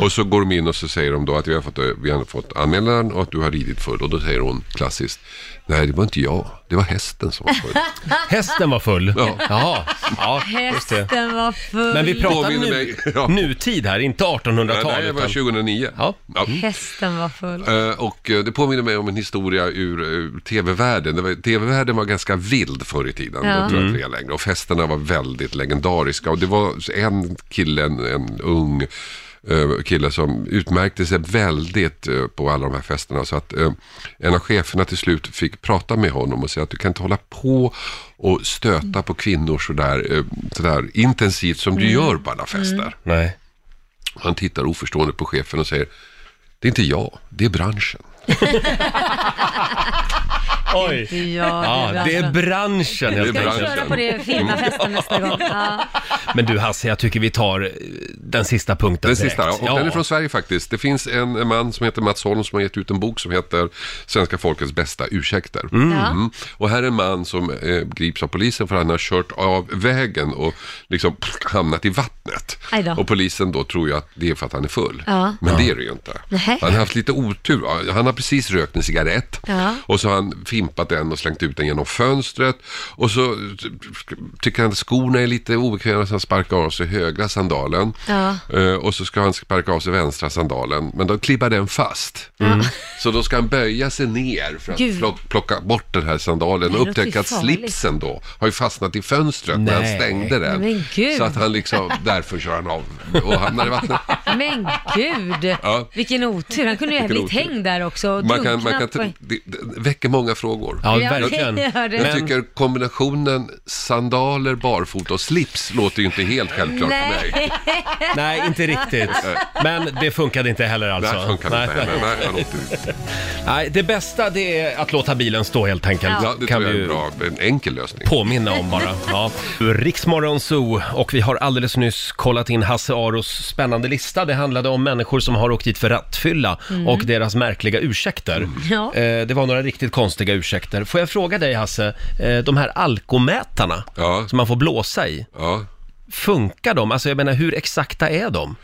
Och så går de in och så säger de då att vi har fått, vi har fått anmälan och att du har ridit full. Och då säger hon klassiskt, nej det var inte jag, det var hästen som var full. (laughs) Hästen var full. Ja. Jaha. Ja, just det. Hästen var full. Men vi pratar Påminner nu, mig. Ja. nutid här, inte Nej, 1800-tal. det var utan- 2009. Ja. Hästen var full. Eh, Och eh, det påminner mig om en historia ur eh, tv-världen. Det var- Tv-världen var ganska vild förr i tiden, det tror jag inte det är längre. Och festerna var väldigt legendariska. Och det var en kille, en, en ung eh, kille som utmärkte sig väldigt eh, på alla de här festerna. Så att eh, en av cheferna till slut fick prata med honom och säga att du kan inte hålla på och stöta på kvinnor sådär, eh, sådär intensivt som Mm. du gör på alla fester. Nej. Han tittar oförstående på chefen och säger det är inte jag, det är branschen. Oj. Ja, Ja, det är branschen Det är helt Ska branschen. enkelt. alltså. vi Mm. köra på det fina festen nästa gång? Ja. Men du Hasse, jag tycker vi tar eh, den sista punkten Den direkt. sista, och den är från Sverige faktiskt. Det finns en man som heter Mats Holm som har gett ut en bok som heter Svenska folkets bästa ursäkter. Mm. Och här är en man som eh, grips av polisen för han har kört av vägen och liksom pff, hamnat i vattnet. Aj då. Och polisen då tror ju att det är för att han är full. Ja. Men det är det ju inte. Nej. Han har haft lite otur. Ja, Han har precis rökt en cigarett Ja. och så har han fimpat den och slängt ut den genom fönstret och så ty- tycker han att skorna är lite obekväma så han sparkar av sig högra sandalen Ja. Eh, och så ska han sparka av sig vänstra sandalen men då klibbar den fast. Mm. Så då ska han böja sig ner för att Mm. Gud. plock- plocka bort den här sandalen Nej, och det upptäcka att låter ju farligt. slipsen då har ju fastnat i fönstret när han Nej. stängde den. Men gud. Så att han liksom, därför kör han av och hamnar i (laughs) vattnet. Men gud, Ja. vilken otur. Han kunde ju ha Vilken blivit otur. hängd där också och Man kan, man drunknat kan, på- det, det väcker många frågor. Ja, Ja, verkligen. jag (laughs) gör det. Jag Men tycker kombinationen sandaler, barfota och slips låter ju inte helt självklart för mig. (laughs) Nej, nej, inte riktigt. Men det funkade inte heller Det alltså. här funkar inte nej. heller. Nej, han åkte ut. nej, det bästa det är att låta bilen stå helt enkelt. Ja, det kan tror jag är vi ju en bra, en enkel lösning. påminna om bara. Ja. Riksmorgon Zoo och vi har alldeles nyss kollat in Hasse Aros spännande lista. Det handlade om människor som har åkt dit för rattfylla och deras märkliga ursäkter. Ja. Eh, det var några riktigt konstiga ursäkter. Får jag fråga dig Hasse, eh, de här alkomätarna Ja. som man får blåsa i, Ja. funkar de? Alltså jag menar hur exakta är de?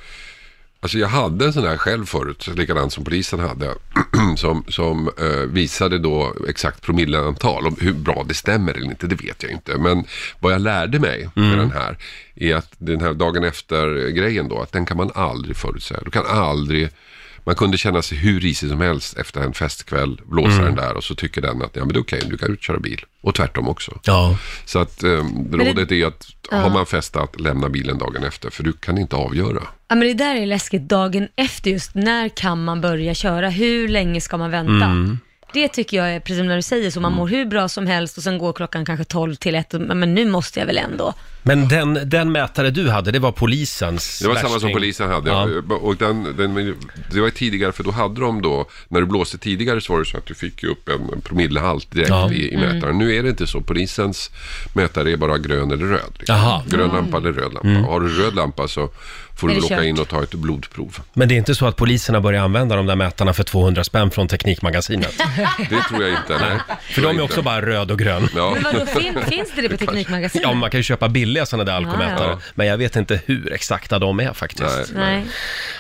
Alltså jag hade en sån här själv förut, likadan som polisen hade, (clears throat) som, som eh, visade då exakt promilleantal. Om hur bra det stämmer eller inte, det vet jag inte. Men vad jag lärde mig med den här, är att den här dagen efter-grejen då, att den kan man aldrig förutsäga. Du kan aldrig man kunde känna sig hur risig som helst efter en festkväll, blåsa den där och så tycker den att ja, men det är okej, du kan utköra bil. Och tvärtom också. Ja. Så att eh, rådet är att har man festat, lämna bilen dagen efter, för du kan inte avgöra. Ja, men det där är läskigt dagen efter just. När kan man börja köra? Hur länge ska man vänta? Mm. Det tycker jag är, precis som när du säger så, man mår hur bra som helst och sen går klockan kanske 12 till 1, men nu måste jag väl ändå. Men den, den mätare du hade, det var polisens Det var samma som värsting. polisen hade. Ja. Och den, den, det var ju tidigare, för då hade de då, när du blåste tidigare så var det så att du fick ju upp en, en promillehalt direkt Ja. i, i Mm. mätaren. Nu är det inte så. Polisens mätare är bara grön eller röd. Liksom. Jaha. Mm. Grön lampa eller röd lampa. Har du röd lampa så får Mm. Är du det åka kört? in och ta ett blodprov. Men det är inte så att polisen har börjat använda de där mätarna för 200 spänn från Teknikmagasinet? (laughs) Det tror jag inte. Nej. För Tror jag de är inte. också bara röd och grön. Ja. Men vadå, (laughs) fin, finns det det på (laughs) Teknikmagasinet? Ja, man kan ju köpa billiga sådana där alkomätare. Ja, ja. Men jag vet inte hur exakta de är Nej. faktiskt. Nej.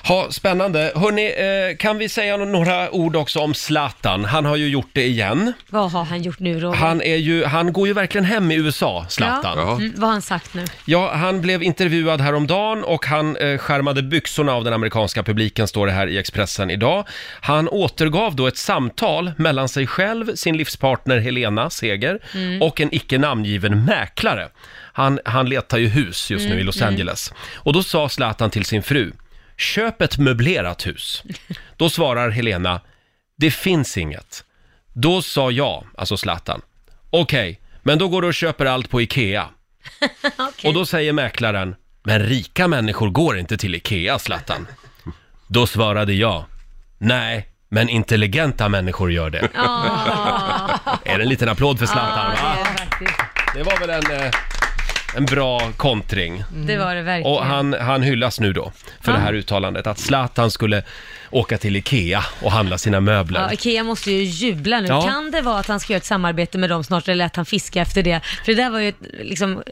Ha, spännande. Hörni, eh, kan vi säga no- några ord också om Zlatan? Han har ju gjort det igen. Vad har han gjort nu Robert? Han, är ju, han går ju verkligen hem i USA, Zlatan. Ja. Ja. Mm, vad har han sagt nu? han blev intervjuad häromdagen och han eh, skärmade byxorna av den amerikanska publiken, står det här i Expressen idag. Han återgav då ett samtal mellan sig själv, sin livspartner Helena Seger och en icke namngiven mäklare. Han, han letar ju hus just nu i Los Angeles. Och då sa Zlatan till sin fru, köp ett möblerat hus. Då svarar Helena, det finns inget. Då sa jag, alltså Zlatan, okej, men då går du och köper allt på Ikea. Och då säger mäklaren, men rika människor går inte till Ikea, Zlatan. Då svarade jag, nej, men intelligenta människor gör det. Ah. Är det en liten applåd för Zlatan? va? Ja, faktiskt. Det var väl en eh, en bra kontring. Det var det verkligen. Ah. Och han, han hyllas nu då för det här uttalandet att Zlatan skulle åka till Ikea och handla sina möbler. Ja, Ikea måste ju jubla nu. Ja. Kan det vara att han ska göra ett samarbete med dem snart eller att han fiskar efter det? För det där var ju ett, liksom...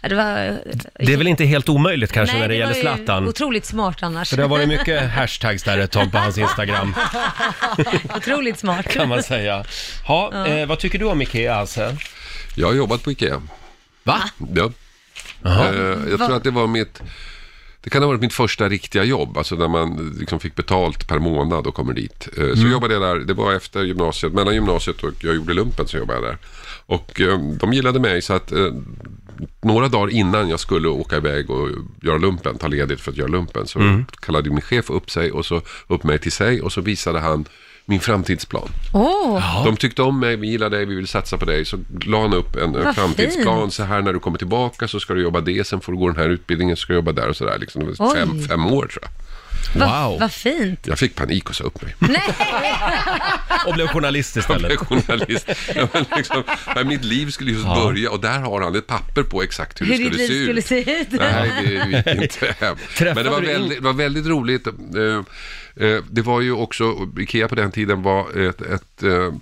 ja, Det var, Det är väl inte helt omöjligt kanske när det, gäller var ju Zlatan. otroligt smart annars. För det har varit mycket hashtags där ett tag på hans Instagram, (laughs) otroligt smart. kan man säga. Ha, Eh, vad tycker du om Ikea, Hasse? Jag har jobbat på Ikea. Va? Ja. Eh, jag tror att det var mitt... Det kan ha varit mitt första riktiga jobb, alltså när man liksom fick betalt per månad och kommer dit. Eh, Så jobbade jag där, det var efter gymnasiet, mellan gymnasiet och jag gjorde lumpen så jobbade jag där. Och eh, de gillade mig så att eh, några dagar innan jag skulle åka iväg och göra lumpen, ta ledigt för att göra lumpen, så kallade min chef upp sig och så upp mig till sig och så visade han min framtidsplan. Åh, De tyckte om mig, vi gillar dig, vi vill satsa på dig. Så la han upp en, en Vad framtidsplan. Så här när du kommer tillbaka så ska du jobba det, sen får du gå den här utbildningen, så ska du jobba där och sådär. Liksom. Det var Oj. Fem, fem år tror jag. Wow! vad fint. Jag fick panik och sa upp mig. (laughs) Och blev journalist (laughs) Jag blev istället. journalist. Jag var liksom, men mitt liv skulle just börja och där har han ett papper på exakt hur, Hur det ditt skulle se ut. liv skulle se ut. Nej, det (laughs) (laughs) gick inte hem. Men det var, du in- väldigt, det var väldigt roligt. Eh, eh, Det var ju också, Ikea på den tiden var ett, ett, eh,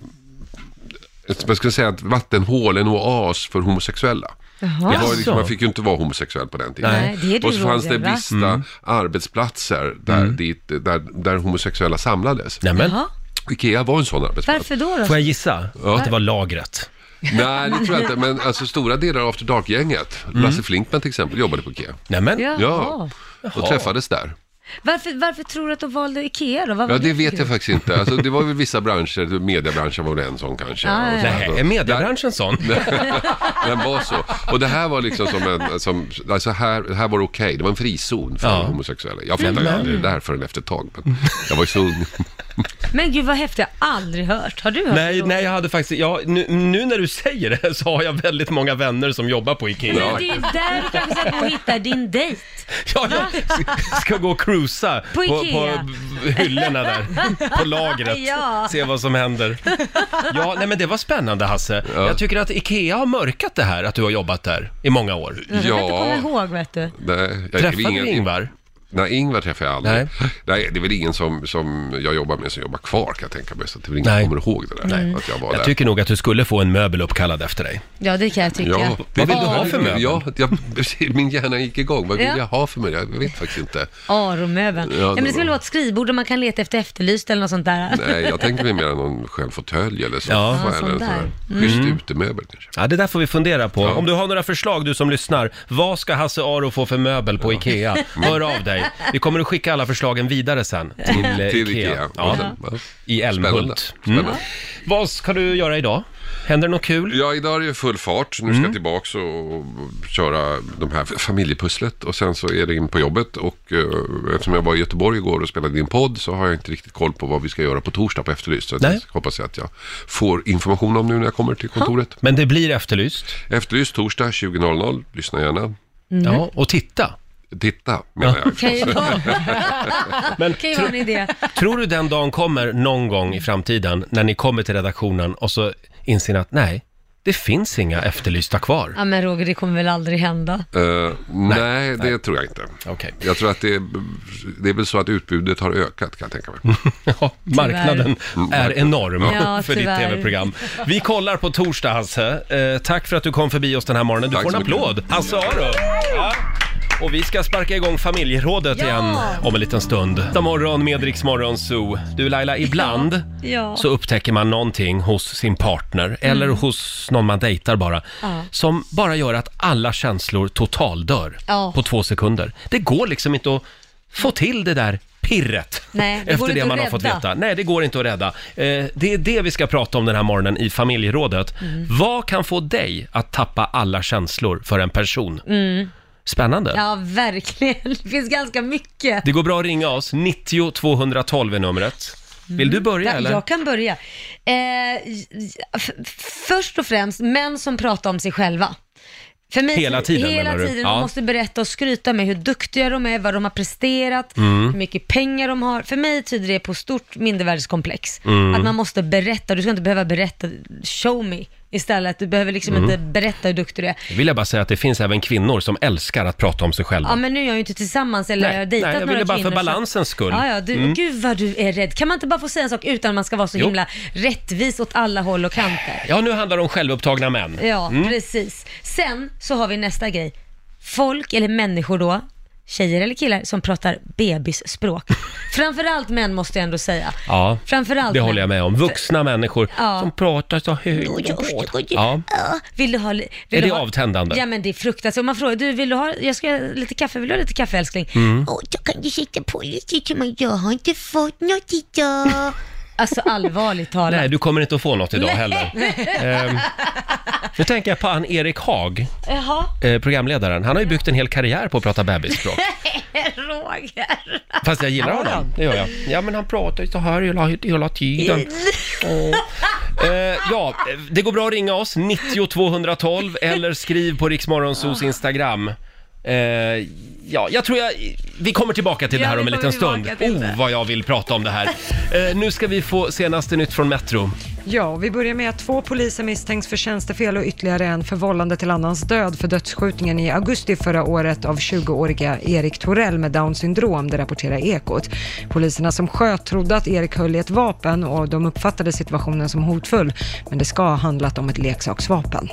ett, vad ska jag säga, ett vattenhål, en oas för homosexuella. Det var Jaså? liksom, man fick ju inte vara homosexuell på den tiden. Nej, det är du, och så fanns det Roger, va? vissa Mm. arbetsplatser där, dit, där, där homosexuella samlades. Nämen, Jaha, Ikea var en sån arbetsplats. varför då? då? får jag gissa? Att det var lagret. Nej, det tror jag inte. Men alltså, stora delar av After Dark-gänget, Lasse Flinckman till exempel, jobbade på Ikea. Mm. Nämen, Jaha. Ja, och träffades där. Varför, varför tror du att de valde Ikea då? Vad var Ja, det för vet jag kul? faktiskt inte. Alltså, det var väl vissa branscher, mediebranschen var väl en sån kanske. Ah, ja, Och så här. nej, är (laughs) mediebranschen sån? Den var så. Och det här var liksom som en, som, alltså här, här var det okej, det var en frizon för Ja. homosexuella. Jag fattade ju aldrig det där förrän efter ett tag, men jag var ju så ung. Men gud vad häftigt, jag har aldrig hört. Har du hört det, Nej, Roger? nej, jag hade faktiskt, ja, nu, nu när du säger det så har jag väldigt många vänner som jobbar på Ikea. Ja. Men det är där du kanske ska gå och hitta din dejt. Ja, jag (laughs) ska gå och cruisa På på, Ikea. på hyllorna där, på lagret, Ja. se vad som händer. Ja, nej men det var spännande Hasse. Jag tycker att Ikea har mörkat det här, att du har jobbat där i många år. Jag kan inte komma Ja, ihåg vet du. nej, jag- Träffade ingen- du Ingvar? Nej, Ingvar träffar jag aldrig. Nej. Nej. det är väl ingen som, som jag jobbar med som jobbar kvar kan jag tänka mig. Så det är väl ingen Nej. som kommer ihåg det där. Att jag var Jag där. tycker nog att du skulle få en möbel uppkallad efter dig. Ja, det kan jag tycka. Ja, Vad vill du ha för möbel? Ja, jag, min hjärna gick igång. Vad vill Ja. jag ha för möbel? Jag vet faktiskt inte. Aromöbeln. Ja, Ja, men det det skulle var- vara ett skrivbord där man kan leta efter efterlyst eller något sånt där. Nej, jag tänker mig mer någon skön fåtölj eller så. Ja. Mm. Ja, eller sån en sån här Schysst utemöbel kanske. Ja, det där får vi fundera på. Om du har några förslag du som lyssnar, vad ska Hasse Aro få för möbel på Ikea? Mm. Hör av dig. Vi kommer att skicka alla förslagen vidare sen till, eh, Till Ikea. Ikea. Ja, Och sen, ja. I Spännande. Älmhult. Mm. Spännande. Vad ska du göra idag? Händer det något kul? Mm. Ja, idag är det full fart. Nu ska jag tillbaks och köra de här familjepusslet och sen så är det in på jobbet och eh, eftersom jag var i Göteborg igår och spelade in podd så har jag inte riktigt koll på vad vi ska göra på torsdag på Efterlyst. Så att Nej. jag hoppas jag att jag får information om nu när jag kommer till kontoret. Men det blir efterlyst. Efterlyst torsdag 20.00. Lyssna gärna. Ja, och titta. Titta, menar jag. (laughs) Kan ju (laughs) vara, Men kan ju vara en idé. tror du den dagen kommer någon gång i framtiden när ni kommer till redaktionen och så inser ni att nej, det finns inga efterlysta kvar? Ja, men Roger, det kommer väl aldrig hända. Eh, nej, det tror jag inte. Okej. Jag tror att det, det är väl så att utbudet har ökat kan jag tänka mig. (laughs) Ja, marknaden Mm. är enorm Ja, för ditt tyvärr. tv-program. Vi kollar på torsdag, Hasse. Eh, tack för att du kom förbi oss den här morgonen. Du Tack får en så mycket. applåd. Hasse Aro! Ja. Och vi ska sparka igång familjerådet igen om en liten stund. God morgon med Rix Morgon Zoo. Du Laila, ibland Ja. så upptäcker man någonting hos sin partner eller Mm. hos någon man dejtar bara som bara gör att alla känslor totaldör Ja. på två sekunder. Det går liksom inte att få till det där pirret Nej, det efter går det inte man att har fått rädda. veta. Nej, det går inte att rädda. Eh, det är det vi ska prata om den här morgonen i familjerådet. Mm. Vad kan få dig att tappa alla känslor för en person? Spännande. Mm. Ja, verkligen. Det finns ganska mycket. Det går bra att ringa oss. 90 212 är numret. Vill du börja Mm. Ja, eller? Jag kan börja. Eh, j- j- f- först och främst, män som pratar om sig själva. För mig, Hela tiden, Hela menar du? tiden. De Ja. måste berätta och skryta med hur duktiga de är, vad de har presterat, Mm. hur mycket pengar de har. För mig tyder Mm. det på stort mindervärdeskomplex. Att man måste berätta, du ska inte behöva berätta, show me. istället. Du behöver liksom Mm. inte berätta hur duktig du är. vill jag bara säga att det finns även kvinnor som älskar att prata om sig själva. Ja men nu är jag ju inte tillsammans eller Nej, jag har dejtat nej, jag några ville bara för kvinnor, så- balansens skull. Mm. Ja, ja, du, Gud vad du är rädd. Kan man inte bara få säga en sak utan att man ska vara så Jo. himla rättvis åt alla håll och kanter? Ja, nu handlar det om självupptagna män. Mm. Ja, precis. Sen så har vi nästa grej. Folk, eller människor då, tjejer eller killar, som pratar (laughs) bebisspråk. Framförallt män måste jag ändå säga. Ja, Framförallt det män. håller jag med om. Vuxna människor Ja. som pratar så högt. Ja. Ja. Vill du ha... li- Vill Är du det ha... avtändande? Ja men det är fruktansvärt. Om man frågar, du vill du ha, jag ska ha lite kaffe, vill du ha lite kaffe älskling? Mm. Och då kan du sitta på lite men jag har inte fått något idag. (laughs) Alltså allvarligt talat. Nej, du kommer inte att få något idag (laughs) heller. Ehm, nu tänker jag på han Erik Haag, Jaha, eh, programledaren. Han har ju byggt en hel karriär på att prata (laughs) bebisspråk. Roger. Fast jag gillar honom, det gör jag. Ja, men han pratar ju så här hela, hela tiden. Eh, ja, det går bra att ringa oss, 90 212 eller skriv på Riksmorgonsos Instagram. Eh, ja, jag tror jag, vi kommer tillbaka till det Ja, här vi om en kommer liten stund. tillbaka till det. Oh, vad jag vill prata om det här. Eh, nu ska vi få senaste nytt från Metro. Ja, vi börjar med att två poliser misstänks för tjänstefel och ytterligare en för vållande till annans död för dödsskjutningen i augusti förra året av 20-åriga Erik Torell med Downs syndrom, det rapporterar Ekot. Poliserna som sköt trodde att Erik höll i ett vapen och de uppfattade situationen som hotfull, men det ska ha handlat om ett leksaksvapen.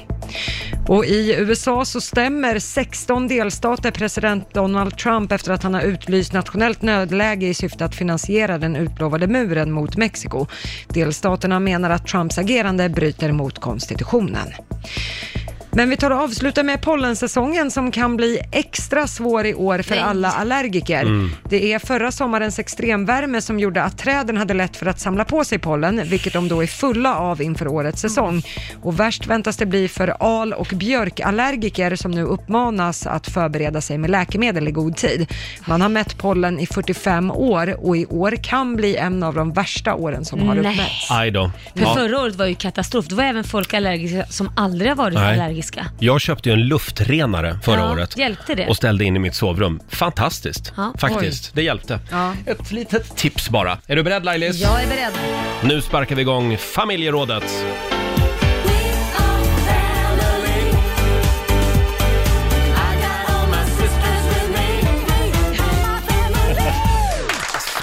Och i USA så stämmer 16 delstater president Donald Trump efter att han har utlyst nationellt nödläge i syfte att finansiera den utlovade muren mot Mexiko. Delstaterna menar att Trumps agerande bryter mot konstitutionen. Men vi tar och avslutar med pollensäsongen som kan bli extra svår i år för alla allergiker. Det är förra sommarens extremvärme som gjorde att träden hade lätt för att samla på sig pollen, vilket de då är fulla av inför årets Mm. säsong. Och värst väntas det bli för al och björkallergiker som nu uppmanas att förbereda sig med läkemedel i god tid. Man har mätt pollen i 45 år och i år kan bli en av de värsta åren som har Nej. uppmätts. Aj då. För förra året var ju katastrof. Det var även folk allergiska som aldrig har varit Nej. allergiska. Jag köpte ju en luftrenare förra Ja, året. hjälpte det? Och ställde in i mitt sovrum. Fantastiskt, Ja, faktiskt. Det hjälpte. Ja. Ett litet tips bara. Är du beredd Lailis? Jag är beredd. Nu sparkar vi igång familjerådet.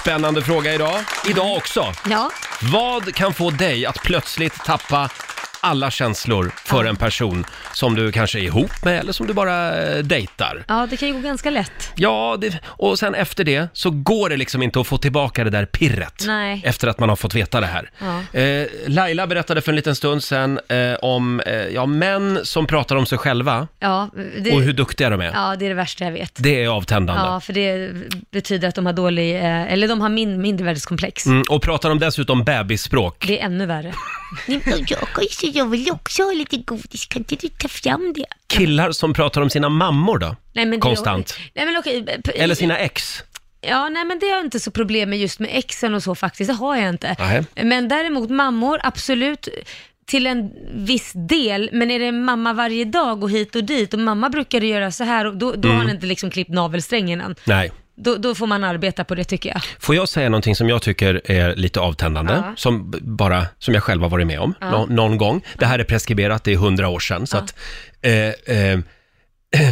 Spännande fråga idag. Idag också. Ja. Vad kan få dig att plötsligt tappa alla känslor för en person som du kanske är ihop med eller som du bara eh, dejtar? ja, det kan ju gå ganska lätt. Ja, det, och sen efter det så går det liksom inte att få tillbaka det där pirret Nej. efter att man har fått veta det här. Ja. Eh, Laila berättade för en liten stund sen eh, om eh, ja, män som pratar om sig själva Ja, det, och hur duktiga de är. ja, det är det värsta jag vet. Det är avtändande. Ja, för det betyder att de har dålig, eh, eller de har min, mindervärdeskomplex. Mm, och pratar de dessutom bebisspråk. Det är ännu (laughs) värre. Jag, så jag vill också ha lite godis, kan inte du ta fram det? Killar som pratar om sina mammor då? Nej, men det- Konstant. Nej, men okej. p- Eller sina ex. Ja, nej men det har jag inte så problem med just med exen och så faktiskt, det har jag inte. Nej. Men däremot mammor, absolut till en viss del, men är det mamma varje dag och hit och dit och mamma brukade göra så här och då, då Mm. har han inte liksom klippt navelsträngen än. Nej. Då, då får man arbeta på det tycker jag. Får jag säga någonting som jag tycker är lite avtändande, Ja. som, b- bara, som jag själv har varit med om nå, någon gång. Det här är preskriberat, det är hundra år sedan. Så att, eh, eh, (clears throat)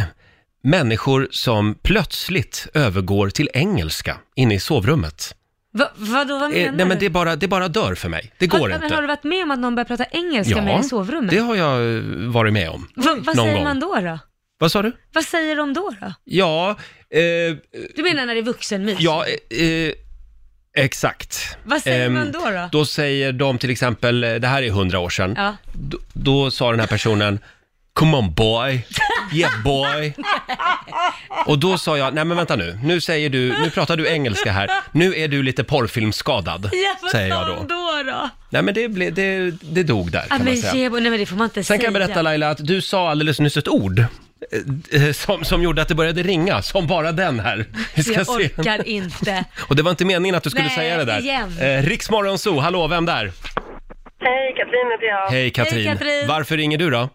människor som plötsligt övergår till engelska inne i sovrummet. Va, vadå, vad menar Eh, nej, men du? det bara, det bara dör för mig. Det går har, inte. Men har du varit med om att någon börjar prata engelska med dig i sovrummet? det har jag eh, varit med om. Va, vad någon säger gång. man då, då? Vad sa du? Vad säger de då? då? Ja, eh, Du menar när det är vuxenmys? ja eh, eh, exakt. Vad säger Ehm, man då, då? Då säger de till exempel, eh, det här är hundra år sedan, Ja. då, då sa den här personen Come on boy, yeah boy. Och då sa jag, nej men vänta nu, nu säger du, nu pratar du engelska här, nu är du lite porrfilmsskadad, Ja, vad säger jag sa då. de då? då? Nej men det, blev, det, det dog där Ja, kan men man säga. Jebo, nej men det får man inte Sen säga. kan jag berätta Laila att du sa alldeles nyss ett ord eh, eh, som, som gjorde att det började ringa, som bara den här. Vi ska Jag se. orkar inte. Och det var inte meningen att du skulle Nej, säga det där. igen. Eh, Riksmorgon Zoo, hallå, vem där? Hej, Katrin heter jag. Hej Katrin. Katrin. Varför ringer du då?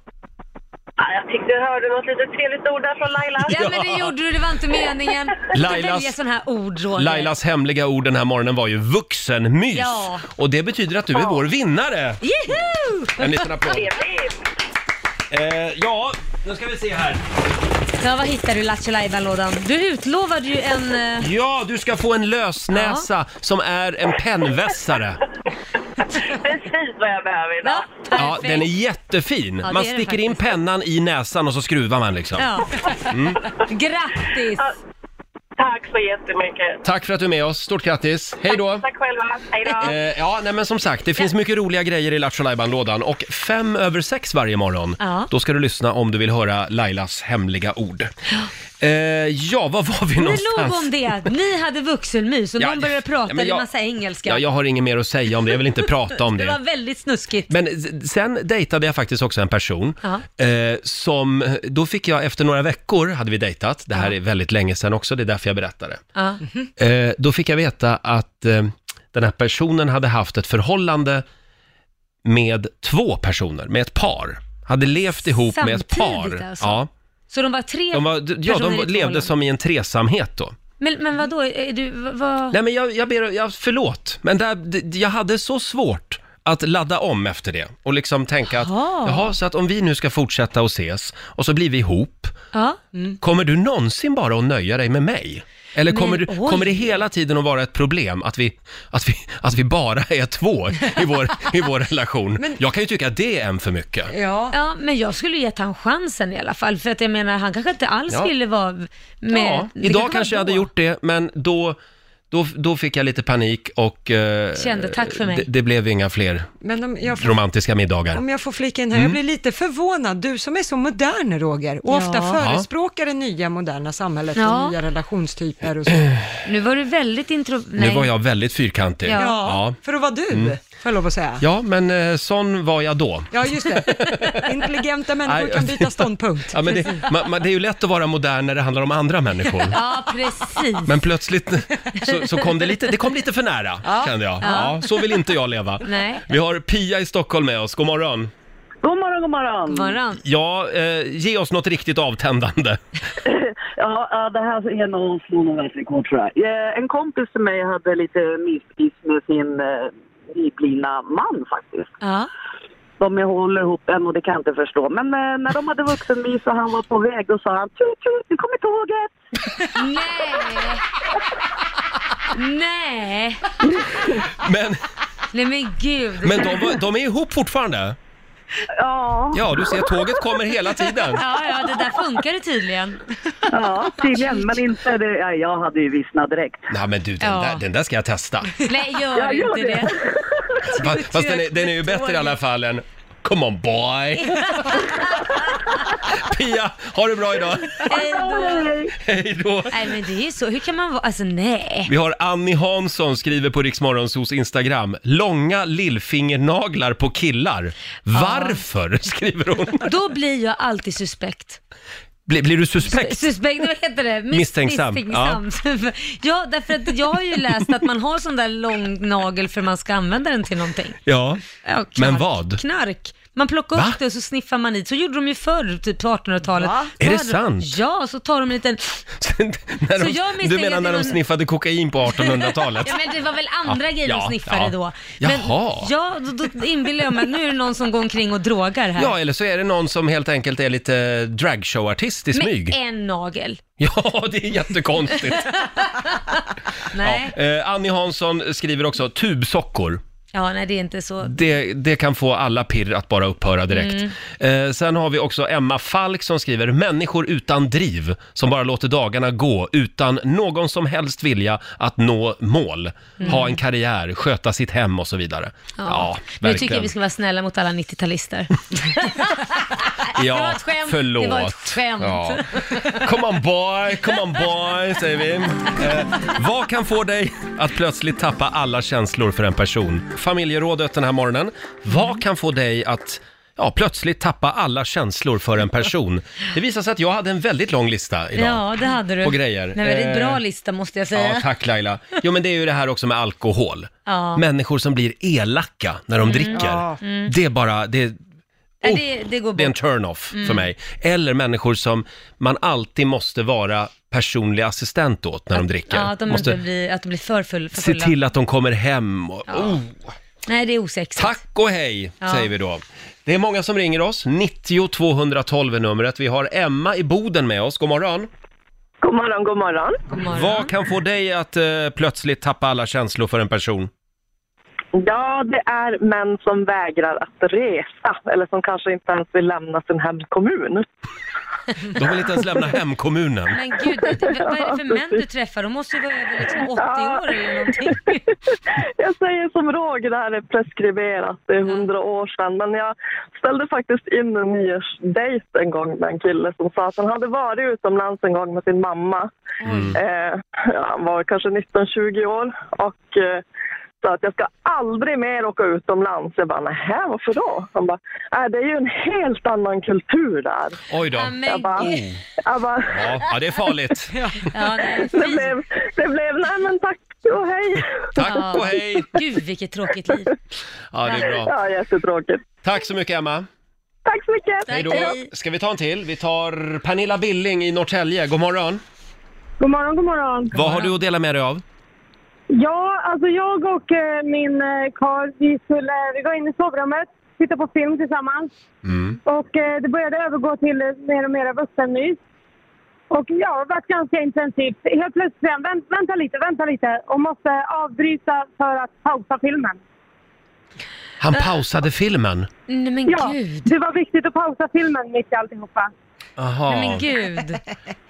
Nej, jag tyckte jag hörde något litet trevligt ord där från Laila. Ja, men det gjorde du, det var inte (laughs) meningen. Lailas- Du väljer sådana här ord, Roger. Lailas hemliga ord den här morgonen var ju vuxenmys. Ja. Och det betyder att du är vår vinnare! Juhu! En liten applåd. Trevligt. Eh, ja, nu ska vi se här. Ja, vad hittar du i Lattjo Lajban-lådan? Du utlovade ju en... eh, Ja, du ska få en lösnäsa som är en (laughs) pennvässare. (laughs) Precis vad jag behöver idag. Ja, Ja, perfekt. den är jättefin. det man är den sticker in faktiskt. pennan i näsan och så skruvar man liksom. Ja. Grattis! Tack så jättemycket. Tack för att du är med oss. Stort grattis. Hej då! Tack själva. Hej Eh, då. ja, nej men som sagt, det finns mycket roliga grejer i Lattjo lådan och fem över sex varje morgon, Ja. då ska du lyssna om du vill höra Lailas hemliga ord. Eh, ja, var var vi Nu någonstans? låg om det. Ni hade vuxenmys och Ja, de började prata ja, men jag- en massa engelska. Ja, jag har inget mer att säga om det, jag (laughs) vill inte prata om Det var det. väldigt snuskigt. Men s- sen dejtade jag faktiskt också en person Ja. eh, som, då fick jag efter några veckor, hade vi dejtat, det här är väldigt länge sedan också, det är därför jag berättar det. Ja. Eh, då fick jag veta att eh, den här personen hade haft ett förhållande med två personer, med ett par. Hade levt ihop med ett Samtidigt par. alltså? Ja, Så de var tre de, var, d- ja, personer i de ett levde förhållande. som i en tresamhet då. Men, men vadå, är du, vad... Mm. Nej men jag, jag ber, jag, förlåt, men där, d- jag hade så svårt att ladda om efter det och liksom tänka att, Jaha. jaha, så att om vi nu ska fortsätta att ses och så blir vi ihop, Ja. kommer du någonsin bara att nöja dig med mig? Eller kommer, du, oj. kommer det hela tiden att vara ett problem att vi, att vi, att vi bara är två i vår, i vår relation? Jag kan ju tycka att det är en för mycket. Eh, Ja. Ja, men jag skulle gett han chansen i alla fall. För att jag menar, han kanske inte alls Ja. ville vara med. Ja, Det idag var kanske jag hade då. gjort det, men då, då, då fick jag lite panik och eh, Kände, tack för mig. Det, det blev inga fler Men om jag får romantiska middagar. Om jag får flika in här, Mm. jag blir lite förvånad. Du som är så modern Roger och Ja. ofta förespråkar det nya moderna samhället Ja. och nya relationstyper och så. Nu var du väldigt intro... Nu var jag väldigt fyrkantig. Ja. Ja. Mm. För att vara du, får jag lov att säga. Ja, Ja, men eh, sån var jag då. just (laughs) det. Intelligenta människor Nej, kan byta ja. ståndpunkt. (laughs) Ja, men det, man, man, det är ju lätt att vara modern när det handlar om andra människor. (laughs) Ja, precis. Men plötsligt så, så kom det lite, det kom lite för nära, kände jag. Ja. så vill inte jag leva. Nej. Vi har Pia i Stockholm med oss, god morgon. God morgon, god morgon. Varann. Ja, eh, ge oss något riktigt avtändande. Ja, ja, det här är nog slår nog världsrekord tror jag. Eh, En kompis till mig hade lite myspis med sin eh, nyblivna man faktiskt. Ja. De håller ihop än och det kan jag inte förstå. Men eh, när de hade vuxenvis och han var på väg då sa han tjut tjut, nu kommer tåget. Nej. (laughs) Nej. Men, Nej men gud. men de, var- de är ihop fortfarande. Ja, Ja, du ser, tåget kommer hela tiden. Ja, ja, det där funkade tydligen. ja tydligen. Men inte det. Ja, jag hade ju vissnat direkt. Nej men du, den, Ja. där, den där ska jag testa. Nej, gör, Jag gör inte det. det. Fast, fast den, är, den är ju bättre i alla fall än Come on boy! Pia, ha det bra idag! Hej då. Hej då! Nej men det är ju så, hur kan man vara, (laughs) alltså nej. Vi har Annie Hansson skriver på Riksmorgonsos Instagram. Långa lillfingernaglar på killar. Varför? (laughs) skriver hon. Då blir jag alltid suspekt. Blir, blir du suspekt? (laughs) Suspekt, vad heter det? Mis- Misstänksam. misstänksam. Ja. (laughs) därför att jag har ju läst att man har sån där lång nagel för man ska använda den till någonting. Ja. Ja, knark. Men vad? Knark. Man plockar Va? upp det och så sniffar man i. Så gjorde de ju förr, typ på 1800-talet. Då Är det hade de- sant? Ja, så tar de (laughs) en liten... när Så jag de, misstänker du menar att när det de var- sniffade kokain på 1800-talet? (laughs) Ja, men det var väl andra Ja, grejer de ja, sniffade ja. då. Men, Jaha. Ja, då, då inbillar jag mig att nu är det någon som går omkring och drogar här. Ja, eller så är det någon som helt enkelt är lite dragshowartist i smyg. (laughs) Med en nagel. Ja, det är jättekonstigt. Nej. Ja. Eh, Annie Hansson skriver också tubsockor. (laughs) Ja, nej det är inte så. Det, det kan få alla pirr att bara upphöra direkt. Mm. Eh, sen har vi också Emma Falk som skriver “Människor utan driv, som bara låter dagarna gå utan någon som helst vilja att nå mål, Mm. ha en karriär, sköta sitt hem och så vidare”. Ja, nu verkligen. tycker jag vi (laughs) ska vara snälla mot alla 90-talister. Ja, Det var ett skämt. Förlåt. Det var ett skämt. Ja. Come on boy, come on boy, säger vi. Eh, vad kan få dig att plötsligt tappa alla känslor för en person? Familjerådet den här morgonen. Vad kan få dig att Ja, plötsligt tappa alla känslor för en person. Det visar sig att jag hade en väldigt lång lista idag. Ja, det hade du. På grejer. Nej, men det är en Eh, bra lista måste jag säga. Ja, tack Laila. Jo, men det är ju det här också med alkohol. Ja. Mm. Människor som blir elaka när de dricker. Det är bara, det, Nej, det, det går oh, Det är en bort. turn-off för Mm. mig. Eller människor som man alltid måste vara personlig assistent åt när de dricker. Ja, att de, måste inte blir, att de blir för, full, för se fulla. till att de kommer hem. Och, oh, Nej, det är osexigt. tack och hej, Ja. säger vi då. Det är många som ringer oss. 90 212 är numret. Vi har Emma i Boden med oss. God morgon. God morgon, god morgon. God morgon. Vad kan få dig att eh, plötsligt tappa alla känslor för en person? Ja, det är män som vägrar att resa eller som kanske inte ens vill lämna sin hemkommun. De vill inte ens lämna hemkommunen. Men gud, det- vad är det för män du träffar? De måste ju vara över liksom 80 år eller någonting. (laughs) Jag säger som Roger, det här är preskriberat, det är hundra år sedan. Men jag ställde faktiskt in en nyårsdejt en gång med en kille som sa att han hade varit utomlands en gång med sin mamma. Mm. Mm. Eh, han var kanske 19-20 år och eh, sa att jag ska aldrig mer åka utomlands. Jag bara, nähä, varför då? Han bara, äh, det är ju en helt annan kultur där. Oj då. Oh. Ja, men Jag bara, gud. jag bara, Ja, ja, det är farligt. (laughs) Ja, nej, (laughs) det fy. blev, det blev, nej men tack och hej. Tack och hej. Gud, vilket tråkigt liv. Ja, det är bra. Ja, jättetråkigt. Tack så mycket, Emma. Tack så mycket. Hej då. Hej. Ska vi ta en till? Vi tar Pernilla Billing i Norrtälje. God morgon. God morgon, god morgon. Vad har du att dela med dig av? Ja, alltså jag och eh, min eh, karl, vi skulle vi gå in i sovrummet, titta på film tillsammans. Mm. Och eh, det började övergå till eh, mer och mer vuxenmys. Och ja, det har varit ganska intensivt. Helt plötsligt säger han, "Vänt- vänta lite, vänta lite och måste avbryta för att pausa filmen. Han pausade filmen. Nej, men Ja, gud. det var viktigt att pausa filmen mitt i alltihopa. Nej, Jaha. men gud.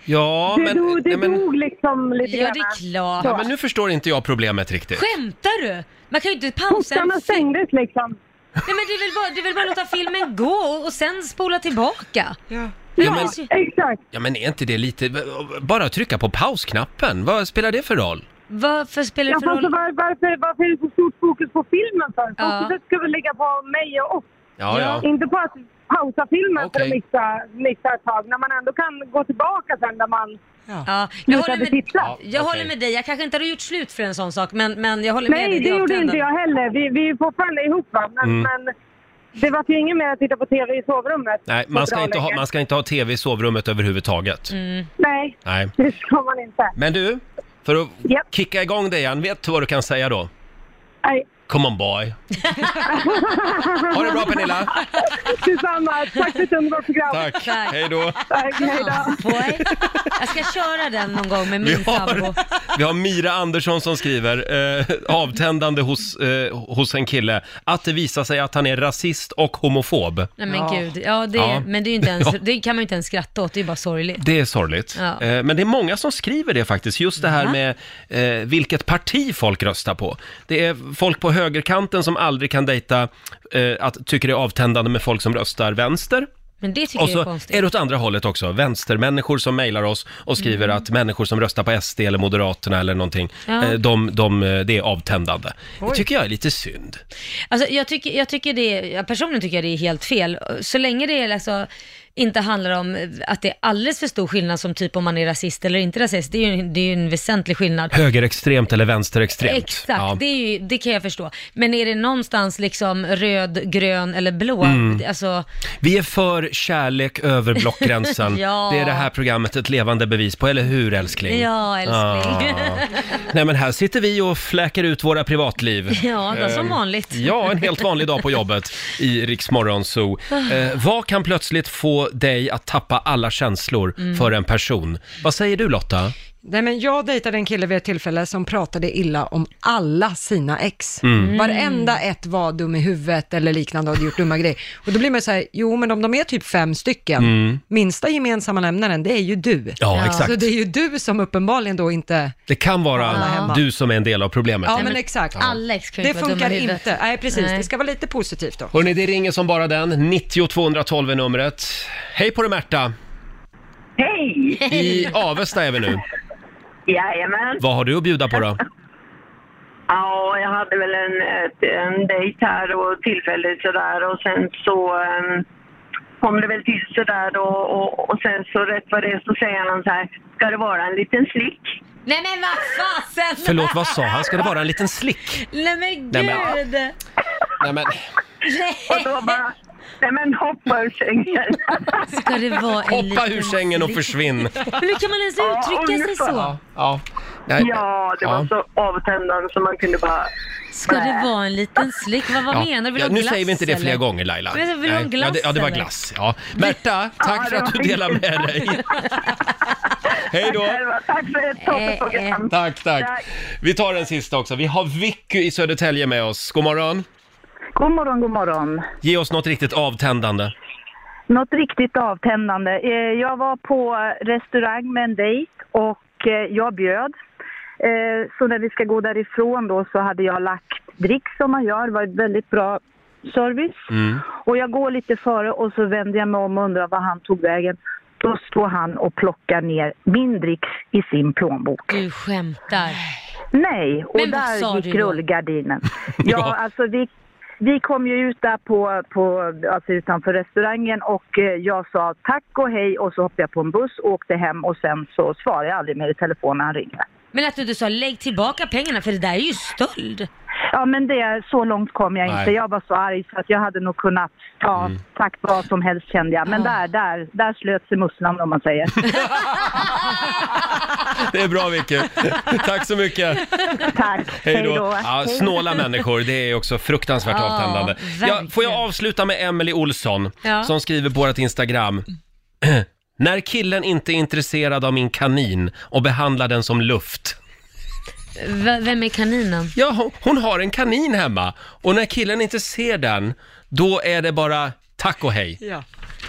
Ja, Det, men... dog, det nej, men... dog liksom lite Ja, det grann. är klart. Ja, men nu förstår inte jag problemet riktigt. Skämtar du? Man kan ju inte pausa en Portarna film. stängdes liksom. Nej, men det är väl bara, det är väl bara att låta filmen gå och, och sen spola tillbaka? Ja. Ja, men, Exakt. ja, men är inte det lite... Bara trycka på pausknappen. Vad spelar det för roll? Varför spelar Ja, det för fast så roll? var, varför, varför är det så stort fokus på filmen för? Ja. Fokuset ska väl ligga på mig och oss, Ja, ja. inte på att pausa filmen för Okej. att missa, missa ett tag, när man ändå kan gå tillbaka sen där man Ja, jag håller slutade med, titta. Ja, jag okej. håller med dig. Jag kanske inte hade gjort slut för en sån sak, men, men jag håller med Nej, dig. det är gjorde inte avtändande. jag heller. Vi, vi är fortfarande ihop va, men, Mm. men det var ju inget mer att titta på TV i sovrummet. Nej, på man bra ska, inte ha, länge. man ska inte ha tv i sovrummet överhuvudtaget. Mm. Nej, Nej. det ska man inte. Men du, för att Japp. kicka igång dig igen, vet du vad du kan säga då? Nej, Come on boy. Ha det bra Pernilla. (laughs) detsamma. Tack för ett underbart program. Tack. Tack. Hej då. Tack, hej då. Boy. Jag ska köra den någon gång med Vi min sambo. har, vi har Mira Andersson som skriver, eh, avtändande hos, eh, hos en kille, att det visar sig att han är rasist och homofob. Nej men Ja. gud, ja, det, Ja. Men det, är ju inte ens, Ja. det kan man ju inte ens skratta åt, det är ju bara sorgligt. Det är sorgligt. Ja. Eh, men det är många som skriver det faktiskt, just det här med eh, vilket parti folk röstar på. Det är folk på högerkanten som aldrig kan dejta, eh, att tycker det är avtändande med folk som röstar vänster. Men det tycker Och jag är så konstigt. är det åt andra hållet också, vänstermänniskor som mejlar oss och skriver att människor som röstar på SD eller Moderaterna eller någonting, Mm. Ja. eh, de, de, eh, det är avtändande. Det tycker jag är lite synd. Alltså, jag, tycker, jag tycker det, jag personligen tycker jag det är helt fel. Så länge det är alltså, inte handlar om eh, att det är alldeles för stor skillnad som typ om man är rasist eller inte rasist, det är ju, det är ju en väsentlig skillnad. Högerextremt eller vänsterextremt. Exakt, Ja. det, är ju, det kan jag förstå. Men är det någonstans liksom röd, grön eller blå, Mm. alltså, Vi är för kärlek över blockgränsen. (laughs) Ja. Det är det här programmet ett levande bevis på, eller hur älskling? Ah. ja älskling. Nej men här sitter vi och fläker ut våra privatliv. (laughs) Eh, Ja, det är som (laughs) vanligt. Ja, en helt vanlig dag på jobbet i Riksmorgon Zoo. Ah. Eh, vad kan plötsligt få dig att tappa alla känslor Mm. för en person? Vad säger du Lotta? Nej, men jag dejtade en kille vid ett tillfälle som pratade illa om alla sina ex. Mm. Varenda ett var dum i huvudet eller liknande och hade gjort dumma grejer. Och då blir man så här, jo men om de är typ fem stycken, minsta gemensamma nämnaren det är ju du. Ja, exakt. Så det är ju du som uppenbarligen då inte, Det kan vara hemma. du som är en del av problemet. ja men exakt. Alex kan ju Det inte vara dumma funkar i huvudet. inte. Nej precis, Nej. det ska vara lite positivt då. Hörrni, det ringer som bara den. 90 212 är numret. Hej på dig Märta! Hej! I Avesta är vi nu. Jajamän. Vad har du att bjuda på då? Ja, jag hade väl en, ett, en dejt här och tillfälle sådär och sen så um, kom det väl till sådär då och, och sen så rätt vad det är så säger han så här, ska det vara en liten slick? (laughs) Nej men vad fasen! Förlåt, vad sa han? Ska det vara en liten slick? Nej men Nej, men- gud! Nej men, Och då bara, Nej men hoppa ur sängen. Ska det vara en Hoppa liten ur sängen och flicka? (laughs) försvinn. Men hur kan man ens Ja, uttrycka sig ungefär. så? Ja. Nej, Ja, det var Ja. så avtändande så man kunde bara... (laughs) Ska det vara en liten slick? Vad, vad ja. menar du? Vill du Ja, ha nu glass, säger vi inte det flera eller? gånger Laila. Men vill du ha Nej. glass, ja, det, ja, det var eller? glass. Ja. Märta, tack för det att du var delar med riktigt. (laughs) dig. Hej då. Tack för ett Eh, toppenprogram. Tack, tack. Tack. Vi tar den sista också. Vi har Vicky i Södertälje med oss. God morgon. God morgon, god morgon. Ge oss något riktigt avtändande. Något riktigt avtändande. Eh, Jag var på restaurang med en dejt och eh, jag bjöd. Eh, Så när vi ska gå därifrån då så hade jag lagt drick som man gör. Det var ett väldigt bra service. Mm. Och jag går lite före och så vänder jag mig om och undrar var han tog vägen. Då står han och plockar ner min dricks i sin plånbok. Du skämtar. Nej, och Men vad sa där gick du då? (laughs) rullgardinen. ja, alltså vi, vi kom ju ut där på, på, alltså utanför restaurangen och eh, jag sa tack och hej och så hoppade jag på en buss och åkte hem och sen så svarade jag aldrig mer i telefon när han ringde. Men att du inte sa lägg tillbaka pengarna för det där är ju stöld. Ja men det, så långt kom jag Nej. inte. Jag var så arg så att jag hade nog kunnat ta tack vad som helst kände jag. Men där, där, där slöt sig musslan om man säger. Det är bra Vicky. Tack så mycket. tack, Hej då. Ja, Hej. snåla människor, det är också fruktansvärt Ja, avtändande. Ja, verkligen. får jag avsluta med Emily Olsson Ja. som skriver på vårt Instagram. (clears throat) När killen inte är intresserad av min kanin och behandlar den som luft. V- vem är kaninen? Ja, hon, hon har en kanin hemma och när killen inte ser den, då är det bara tack och hej. Ja.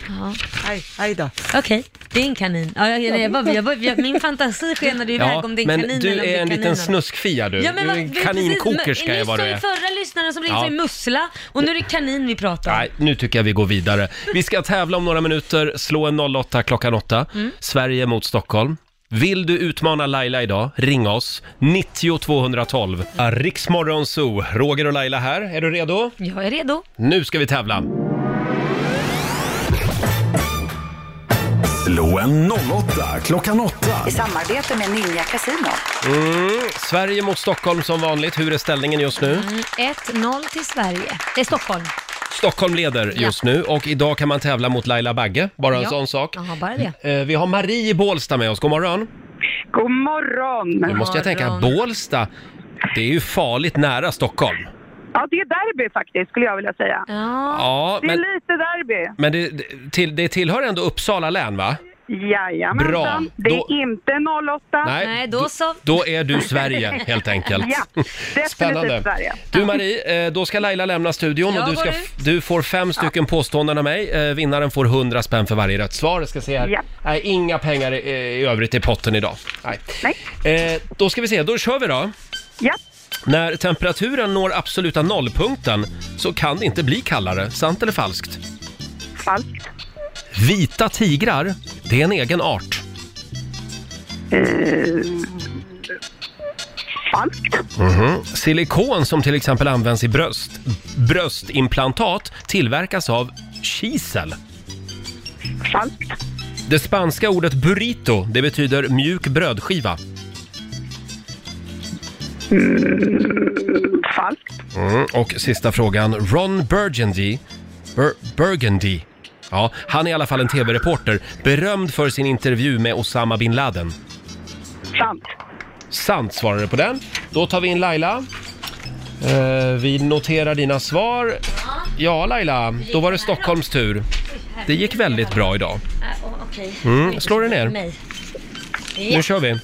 Ja. Hej, hej då. Okej, det är en kanin. Ja, jag, jag, jag, bara- jag, bara- jag, min fantasi skenade iväg om det är en men kanin du eller om det är en liten kaninen. snuskfia du. du är vad- en det är precis- kaninkokerska men är vad du Nyss är. sa ju förra lyssnaren som ringde Ja. sig mussla och nu är det kanin vi pratar om. Nej, nu tycker jag vi går vidare. Vi ska tävla om några minuter, slå en 08 klockan 8. Sverige mot Stockholm. Vill du utmana Laila idag, ring oss. 90 212. Riksmorgon Zoo, Roger och Laila här. Är du redo? Jag är redo. Nu ska vi tävla. Slå en 08 klockan 8. I samarbete med Ninja Casino. Mm. Sverige mot Stockholm som vanligt. Hur är ställningen just nu? 1-0 Mm, till Sverige. Det är Stockholm. Stockholm leder just nu och idag kan man tävla mot Laila Bagge. Bara en Ja. sån sak. Jaha, bara det. Eh, Vi har Marie i Bålsta med oss. God morgon. God morgon! Nu måste jag tänka, morgon. Bålsta, det är ju farligt nära Stockholm. Ja det är derby faktiskt skulle jag vilja säga. Ja. Ja, men... lite derby. Men det, det- till, det tillhör ändå Uppsala län va? Jajamensan. Bra. Det är Då- inte 08. Nej, då så. Då är du Sverige helt enkelt. (laughs) Ja, definitivt Sverige. Du Marie, eh, då ska Laila lämna studion Jag och du, går ska, ut. du får fem stycken påståenden av mig. Eh, Vinnaren får 100 spänn för varje rätt svar. Jag ska se här. Ja. Nej, inga pengar i, i övrigt i potten idag. Nej. Eh, Då ska vi se, då kör vi då. Ja. När temperaturen når absoluta nollpunkten så kan det inte bli kallare. Sant eller falskt? Falskt. Vita tigrar, det är en egen art. Falskt. Silikon som till exempel används i bröst, bröstimplantat tillverkas av kisel. Falskt. Det spanska ordet burrito, det betyder mjuk brödskiva. (laughs) Falskt. Mm, och sista frågan, Ron Burgundy, Bur- Burgundy, ja, han är i alla fall en tv-reporter, berömd för sin intervju med Osama bin Laden. Sant. Sant svarade du på den. Då tar vi in Laila. Eh, vi noterar dina svar. Ja, Laila, då var det Stockholms tur. Det gick väldigt bra idag. Äh, Okej. Mm, slår du ner? Mig. Nu kör vi. Mm.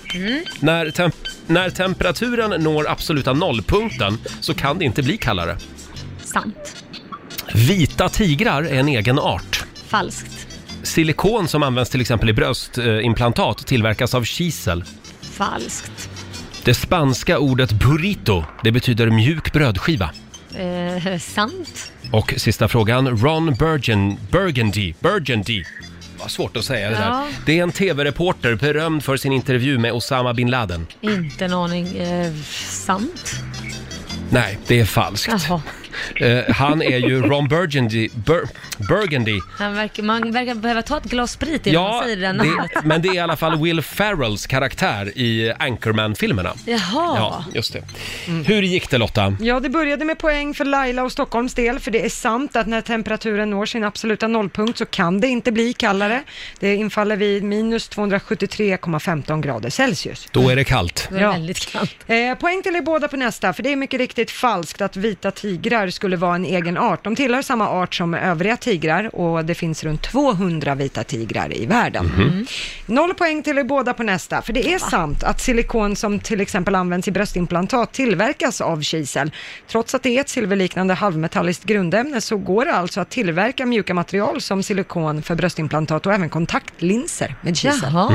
När, temp när temperaturen når absoluta nollpunkten så kan det inte bli kallare. Sant. Vita tigrar är en egen art. Falskt. Silikon som används till exempel i bröstimplantat tillverkas av kisel. Falskt. Det spanska ordet burrito, det betyder mjuk brödskiva. Eh, sant. Och sista frågan, Ron Burgen, Burgundy, Burgundy. Vad svårt att säga det där. Ja. Det är en tv-reporter berömd för sin intervju med Osama bin Laden. Inte en aning. Eh, sant. Nej, det är falskt. Jaha. Eh, han är ju Ron Burgundy. Bur, Burgundy. Han verkar, man verkar behöva ta ett glas sprit innan Ja, man säger det där namnet. det, men det är i alla fall Will Ferrells karaktär i Anchorman-filmerna. Jaha. Ja, just det. Hur gick det Lotta? Ja, det började med poäng för Laila och Stockholms del, för det är sant att när temperaturen når sin absoluta nollpunkt så kan det inte bli kallare. Det infaller vid minus 273,15 grader Celsius. Då är det kallt. Det var Ja. väldigt kallt. Eh, poäng till er båda på nästa, för det är mycket riktigt falskt att vita tigrar skulle vara en egen art. De tillhör samma art som övriga tigrar och det finns runt 200 vita tigrar i världen. Mm. Mm. Noll poäng till er båda på nästa, för det är sant att silikon som till exempel används i bröstimplantat tillverkas av kisel. Trots att det är ett silverliknande halvmetalliskt grundämne så går det alltså att tillverka mjuka material som silikon för bröstimplantat och även kontaktlinser med kisel. Jaha.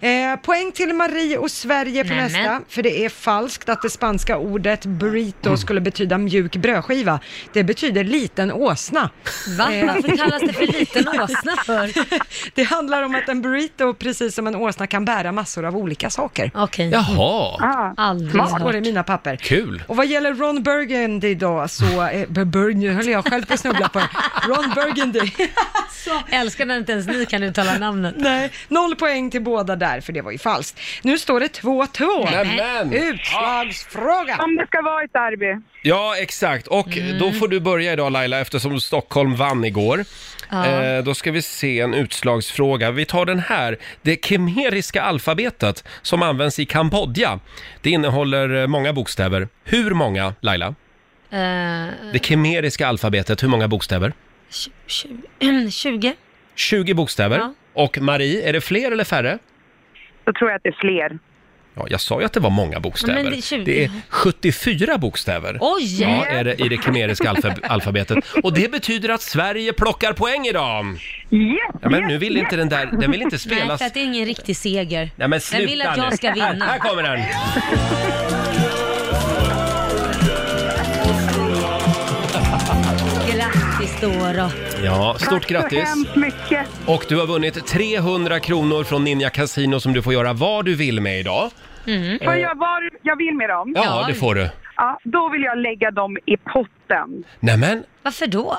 Eh, poäng till Marie och Sverige på Nämen. nästa, för det är falskt att det spanska ordet burrito skulle betyda mjuk brödskiva. Det betyder liten åsna. Eh, Va? Varför kallas det för liten åsna för? (laughs) Det handlar om att en burrito, precis som en åsna, kan bära massor av olika saker. Okej, Jaha, Ah. aldrig Står hört. det i mina papper. kul. Och vad gäller Ron Burgundy då, så... Eh, Bur- Bur- nu höll jag själv på att snubbla på det. Ron (laughs) Burgundy. Älskar när inte ens ni kan uttala namnet. Nej, noll poäng till båda där, för det var ju falskt. Nu står det 2-2. Nämen! Utslagsfråga! Om det ska vara i derby. Ja, exakt. Och då får du börja idag Laila eftersom Stockholm vann igår. Eh, då ska vi se en utslagsfråga. Vi tar den här. Det kemeriska alfabetet som används i Kambodja. Det innehåller eh, många bokstäver. Hur många, Laila? Eh, (clears throat) Det kemeriska alfabetet, hur många bokstäver? tju- tju- 20? 20 bokstäver. Ja. Och Marie, är det fler eller färre? Då tror jag att det är fler. Ja, jag sa ju att det var många bokstäver. Ja, men det är 20. är 74 bokstäver. Oj! Ja, är det i det kemeriska (laughs) alfa- alfabetet. Och det betyder att Sverige plockar poäng idag! Yes, Ja, men yes, nu vill yes. inte den där, den vill inte Nej, spelas. för att det är ingen riktig seger. Nej men Den sluta vill att jag nu. ska Här, här vinna. kommer den! Grattis då. då. Ja, stort Tack så grattis! hemskt mycket. Och du har vunnit 300 kronor från Ninja Casino som du får göra vad du vill med idag. Mm. Får jag vad jag vill med dem? Ja, Ja. det får du. Ja, då vill jag lägga dem i potten. Nämen, Varför då?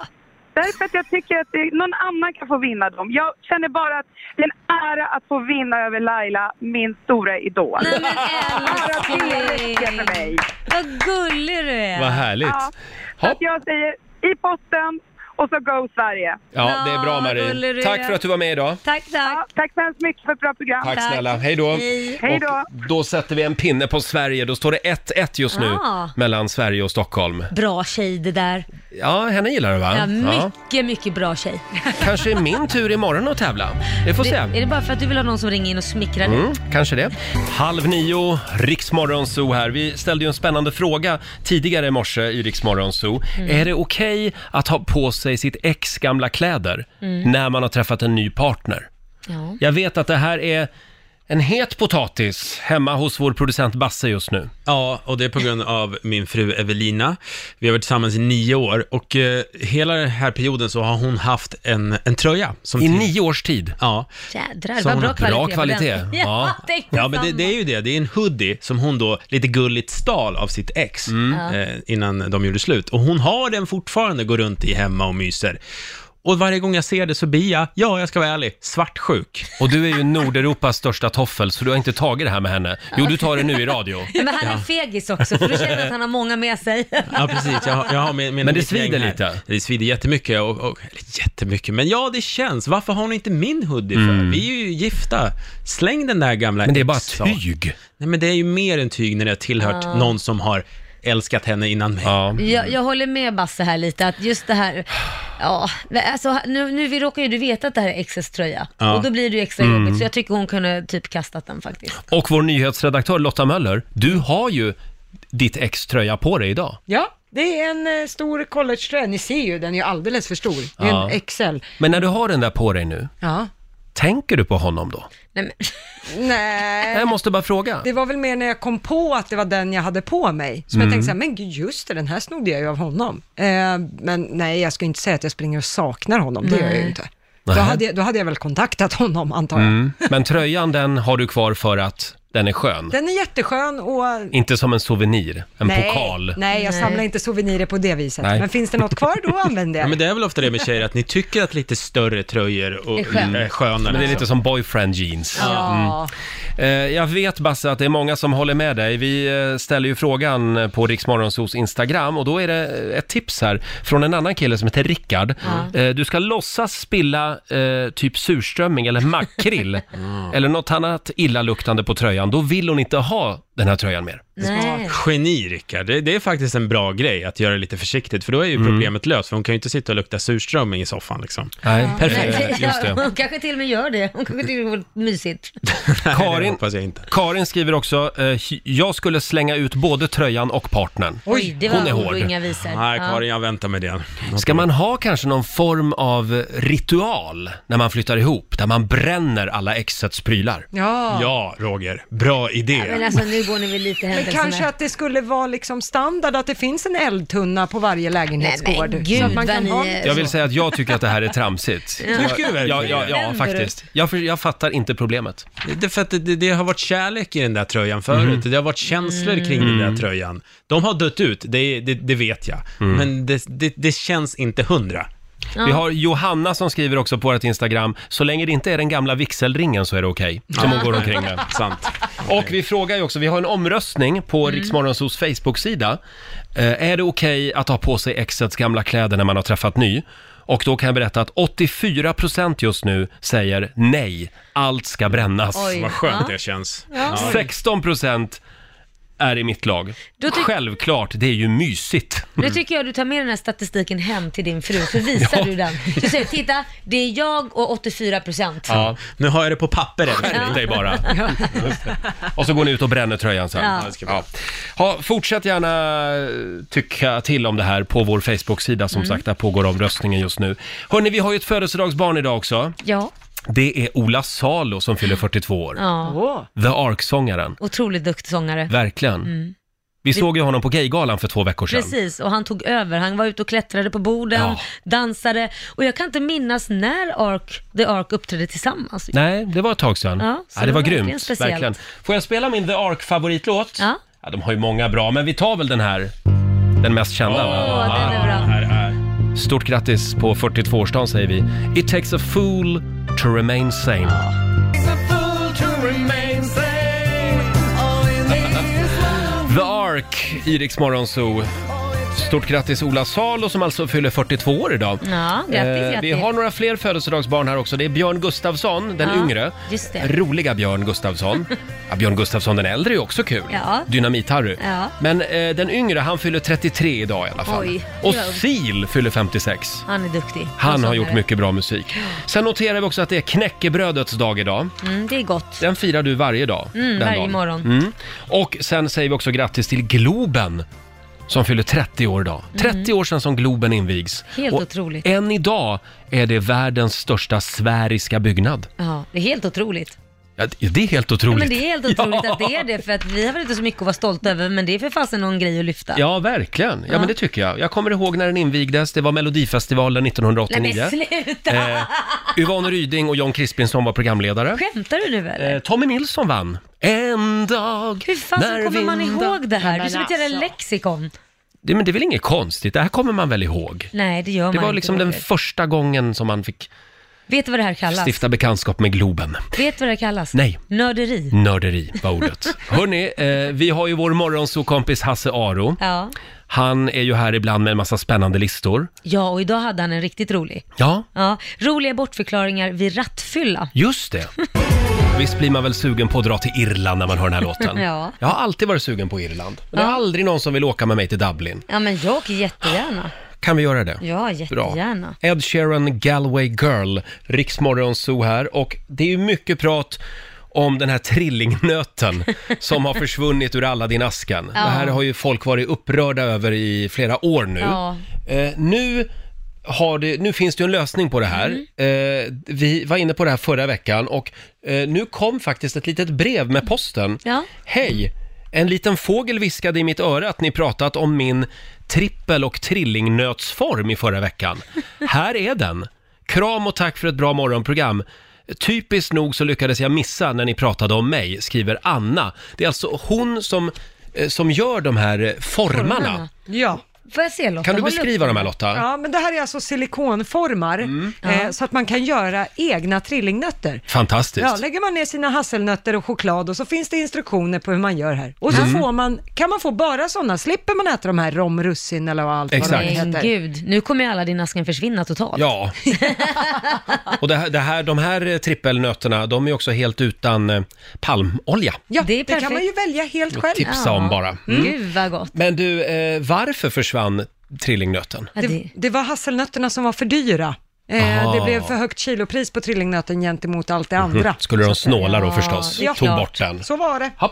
Därför att jag tycker att det, någon annan kan få vinna dem. Jag känner bara att det är en ära att få vinna över Laila, min stora idol. Nej men Ära det räcker älskling! för mig. Vad gullig du är. vad härligt! Ja. Så Ja, att jag säger i potten och så go Sverige. ja, det är bra Marie. Gullerud. Tack för att du var med idag. Tack, Ja, tack. tack så hemskt mycket för ett bra program. Tack Tack. snälla, hej då. Hej. Hej då. Och då sätter vi en pinne på Sverige, då står det 1-1 just nu Ah. mellan Sverige och Stockholm. Bra tjej det där. Ja, henne gillar du va? Ja, mycket, mycket bra tjej. Kanske är min tur imorgon att tävla. Vi får Det, se. är det bara för att du vill ha någon som ringer in och smickrar dig? Mm, kanske det. Halv nio, Riksmorgon Zoo här. Vi ställde ju en spännande fråga tidigare i morse i Riksmorgon Zoo. Mm. Är det okej att ha på sig sitt ex gamla kläder Mm. när man har träffat en ny partner? Ja. Jag vet att det här är en het potatis hemma hos vår producent Basse just nu. Ja, och det är på grund av min fru Evelina. Vi har varit tillsammans i nio år och eh, hela den här perioden så har hon haft en, en tröja. Som I till- nio års tid. Ja. Jädrar, Som vad bra har kvalitet. bra på kvalitet. den. Ja. (laughs) Ja, tänk Ja, men det, det är ju det. Det är en hoodie som hon då lite gulligt stal av sitt ex Mm. eh, innan de gjorde slut. Och hon har den fortfarande, går runt i hemma och myser. Och varje gång jag ser det så blir jag, ja, jag ska vara ärlig, svartsjuk. Och du är ju Nordeuropas största toffel, så du har inte tagit det här med henne. Jo, du tar det nu i radio. Men han är fegis också, för du känner att han har många med sig. Ja, precis. Jag, har- jag har min, min Men det mitt gäng svider här. lite. Det svider jättemycket. Och, och, eller jättemycket, men ja, det känns. Varför har hon inte min hoodie för? Vi är ju gifta. Släng den där gamla Mm. Men det är bara ex-sak. tyg. Nej, men det är ju mer än tyg när det har tillhört någon som har älskat henne innan mig. Ja. Jag, jag håller med Basse här lite, att just det här, ja, alltså, nu, nu vi råkar ju du veta att det här är exes tröja, Ja. och då blir det ju extra jobbigt, så jag tycker hon kunde typ kastat den faktiskt. Och vår nyhetsredaktör Lotta Möller, du har ju ditt ex tröja på dig idag. Ja, det är en eh, stor collegetröja. Ni ser ju, den är ju alldeles för stor. Det är Ja. en XL. Men när du har den där på dig nu, Ja. tänker du på honom då? Nej, men, Nej, Jag måste bara fråga. det var väl mer när jag kom på att det var den jag hade på mig. Mm. Som jag tänkte så här, men gud, just det, den här snodde jag ju av honom. Eh, men nej, jag ska inte säga att jag springer och saknar honom, det gör jag ju inte. Då Nej. Mm. hade, jag- då hade jag väl kontaktat honom, antar jag. Men tröjan den har du kvar för att Den är skön. Den är jätteskön och... Inte som en souvenir, en nej, pokal. Nej, jag samlar inte souvenirer på det viset. Nej. Men finns det något kvar, då använder Ja, jag men det är väl ofta det med tjejer, att ni tycker att lite större tröjor och, Är skönt. är skönare. Men det är liksom. lite som boyfriend jeans. Ja. Eh, Jag vet Basse att det är många som håller med dig. Vi eh, ställer ju frågan på Riksmorgonsos Instagram och då är det eh, ett tips här från en annan kille som heter Rickard. Eh, Du ska låtsas spilla eh, typ surströmming eller makrill eller något annat illaluktande på tröjan. Då vill hon inte ha den här tröjan mer. Nej. Geni, Rickard. Det, det är faktiskt en bra grej att göra det lite försiktigt, för då är Mm. ju problemet löst, för hon kan ju inte sitta och lukta surströmming i soffan liksom. Nej, perfekt. Just det. Hon kanske till och med gör det. Hon kanske tycker det var mysigt. (laughs) Det Karin, hoppas Alltså, jag inte. Karin skriver också, eh, "Hy- jag skulle slänga ut både tröjan och partnern. Oj, det var hon är ord hård. och inga visor. Nej, Ja. Karin, jag väntar med det. Ska man ha kanske någon form av ritual när man flyttar ihop, där man bränner alla exets prylar? Ja. Ja, Roger. Bra idé. Men alltså nu går ni väl lite Men händelserna. kanske att det skulle vara liksom standard att det finns en eldtunna på varje lägenhetsgård. Nej, men gud, så att man vad kan ni ha... är- Jag vill säga att jag tycker att det här är tramsigt. Tycker du verkligen Ja, ja, det? ja faktiskt. Jag, för, jag fattar inte problemet. Det, är för att det, det, det har varit kärlek i den där tröjan förut, Mm. det har varit känslor kring den där tröjan. De har dött ut, det, det, det vet jag, Mm. men det, det, det känns inte hundra. Vi har Johanna som skriver också på vårt Instagram, så länge det inte är den gamla vigselringen så är det okej. Som hon går omkring (laughs) med. Sant. Och vi frågar ju också, vi har en omröstning på mm. Riksmorgonsos Facebook-sida. Eh, är det okej att ha på sig exets gamla kläder när man har träffat ny? Och då kan jag berätta att 84% just nu säger nej, allt ska brännas. Oj. Vad skönt det känns. Ja. 16% är i mitt lag. Då tyck- Självklart, det är ju mysigt. Nu tycker jag du tar med den här statistiken hem till din fru, så visar Ja. du den. Du säger, titta, det är jag och 84 procent. Ja, Nu har jag det på papperet. skärp dig (laughs) bara. Just det. Och så går ni ut och bränner tröjan sen. Ja. Ja. Ha, fortsätt gärna eh, tycka till om det här på vår Facebook-sida Mm. som sagt, där pågår omröstningen just nu. Hörni, vi har ju ett födelsedagsbarn idag också. Ja. Det är Ola Salo som fyller 42 år. ja. Åh. The Ark-sångaren, Otroligt duktig sångare. verkligen. Vi såg ju honom på Gaygalan för två veckor sedan. Mm. Precis, och han tog över. Han var ute och klättrade på borden, Ja. dansade och jag kan inte minnas när Ark, The Ark uppträdde tillsammans. Nej, det var ett tag sedan. Ja, typ. Ja, det, så var, det var verkligen grymt. speciellt. Verkligen. Får jag spela min The Ark-favoritlåt? Ja. ja. De har ju många bra, men vi tar väl den här. Den mest kända. va? Åh, den är bra. Stort grattis på 42-årsdagen säger vi. It takes a fool to remain sane. (laughs) The Ark, i Rix Morgon Zoo. Stort grattis Ola Salo som alltså fyller 42 år idag. Ja, grattis, Eh, Vi grattis. har några fler födelsedagsbarn här också. Det är Björn Gustafsson, den Ja, yngre. just det. Roliga Björn (laughs) Gustafsson. ja, Björn Gustafsson den äldre är ju också kul. Ja. Dynamit-Harry. Ja. Men eh, den yngre, han fyller 33 idag i alla fall. Oj, Och det var- Sil fyller 56. Han är duktig. Han som har sångare. gjort mycket bra musik. Sen noterar vi också att det är knäckebrödets dag idag. Mm, det är gott. Den firar du varje dag. Mm, den varje dagen. morgon. Mm. Och sen säger vi också grattis till Globen som fyller 30 år idag. 30 år sedan som Globen invigs. Mm. Helt och otroligt. Än idag är det världens största sfäriska byggnad. Ja, det är helt otroligt. Ja, det är helt Ja, otroligt. men det är helt (laughs) otroligt att det är det, för att vi har väl inte så mycket att vara stolta över, men det är för fasen någon grej att lyfta. Ja, verkligen. Ja, men det tycker jag. Jag kommer ihåg när den invigdes. Det var Melodifestivalen Nej 1989. men sluta! Eh, Yvonne Ryding och John Crispinson var programledare. Skämtar du nu eller? Eh, Tommy Nilsson vann. En dag Hur fasen när kommer man vinden- ihåg det här? Det är Men som ett jävla alltså. lexikon. Det, men det är väl inget konstigt, det här kommer man väl ihåg? Nej, det gör Det man var inte. liksom den Roger. första gången som man fick Vet du vad det här kallas? stifta bekantskap med Globen. Vet du vad det kallas? Nej. Nörderi. Nörderi var (laughs) ordet. Hörni, eh, vi har ju vår morgonsokompis Hasse Aro. Ja. Han är ju här ibland med en massa spännande listor. ja, och idag hade han en riktigt rolig. Ja, Ja, roliga bortförklaringar vid rattfylla. just det. Visst blir man väl sugen på att dra till Irland när man hör den här låten? (laughs) Ja. Jag har alltid varit sugen på Irland. Men det är Ja. aldrig någon som vill åka med mig till Dublin. Ja, men jag åker jättegärna. Kan vi göra det? Ja, jättegärna. Bra. Ed Sheeran, Galway Girl, Riksmorgon Zoo här. Och det är ju mycket prat om den här (laughs) trillingnöten som har försvunnit ur alla din askan. Det här har ju folk varit upprörda över i flera år nu. Ja. Eh, nu, har det, nu finns det ju en lösning på det här. Mm. Eh, vi var inne på det här förra veckan och eh, nu kom faktiskt ett litet brev med posten. Ja. Hej! En liten fågel viskade i mitt öra att ni pratat om min trippel och (laughs) trillingnötsform i förra veckan. Här är den. Kram och tack för ett bra morgonprogram. Typiskt nog så lyckades jag missa när ni pratade om mig, skriver Anna. Det är alltså hon som, eh, som gör de här eh, formarna. Formarna. Ja. Får jag se Lotta? Kan du Håll upp beskriva den. dem här Lotta? Mm. Ja, men det här är alltså silikonformar, eh, så att man kan göra egna trillingnötter. Fantastiskt. Ja, lägger man ner sina hasselnötter och choklad och så finns det instruktioner på hur man gör här. Och så Mm. får man, kan man få bara sådana, slipper man äta de här rom, russin eller vad allt vad de Exakt. heter. Men gud, nu kommer ju alla dina asken försvinna totalt. Ja. Och det här, det här, de här eh, trippelnötterna, de är också helt utan eh, palmolja. Ja, Det är det, perfekt. kan man ju välja helt själv. Tipsa om bara. Mm. Gud vad gott. Men du, eh, varför försvann trillingnöten? Ja, Det, det... det var hasselnötterna som var för dyra. Eh, Aha. Mhm. det blev för högt kilopris på trillingnöten gentemot allt det andra. Skulle de snåla då Ja, förstås? det är Tog klart. bort den. Så var det. Hopp.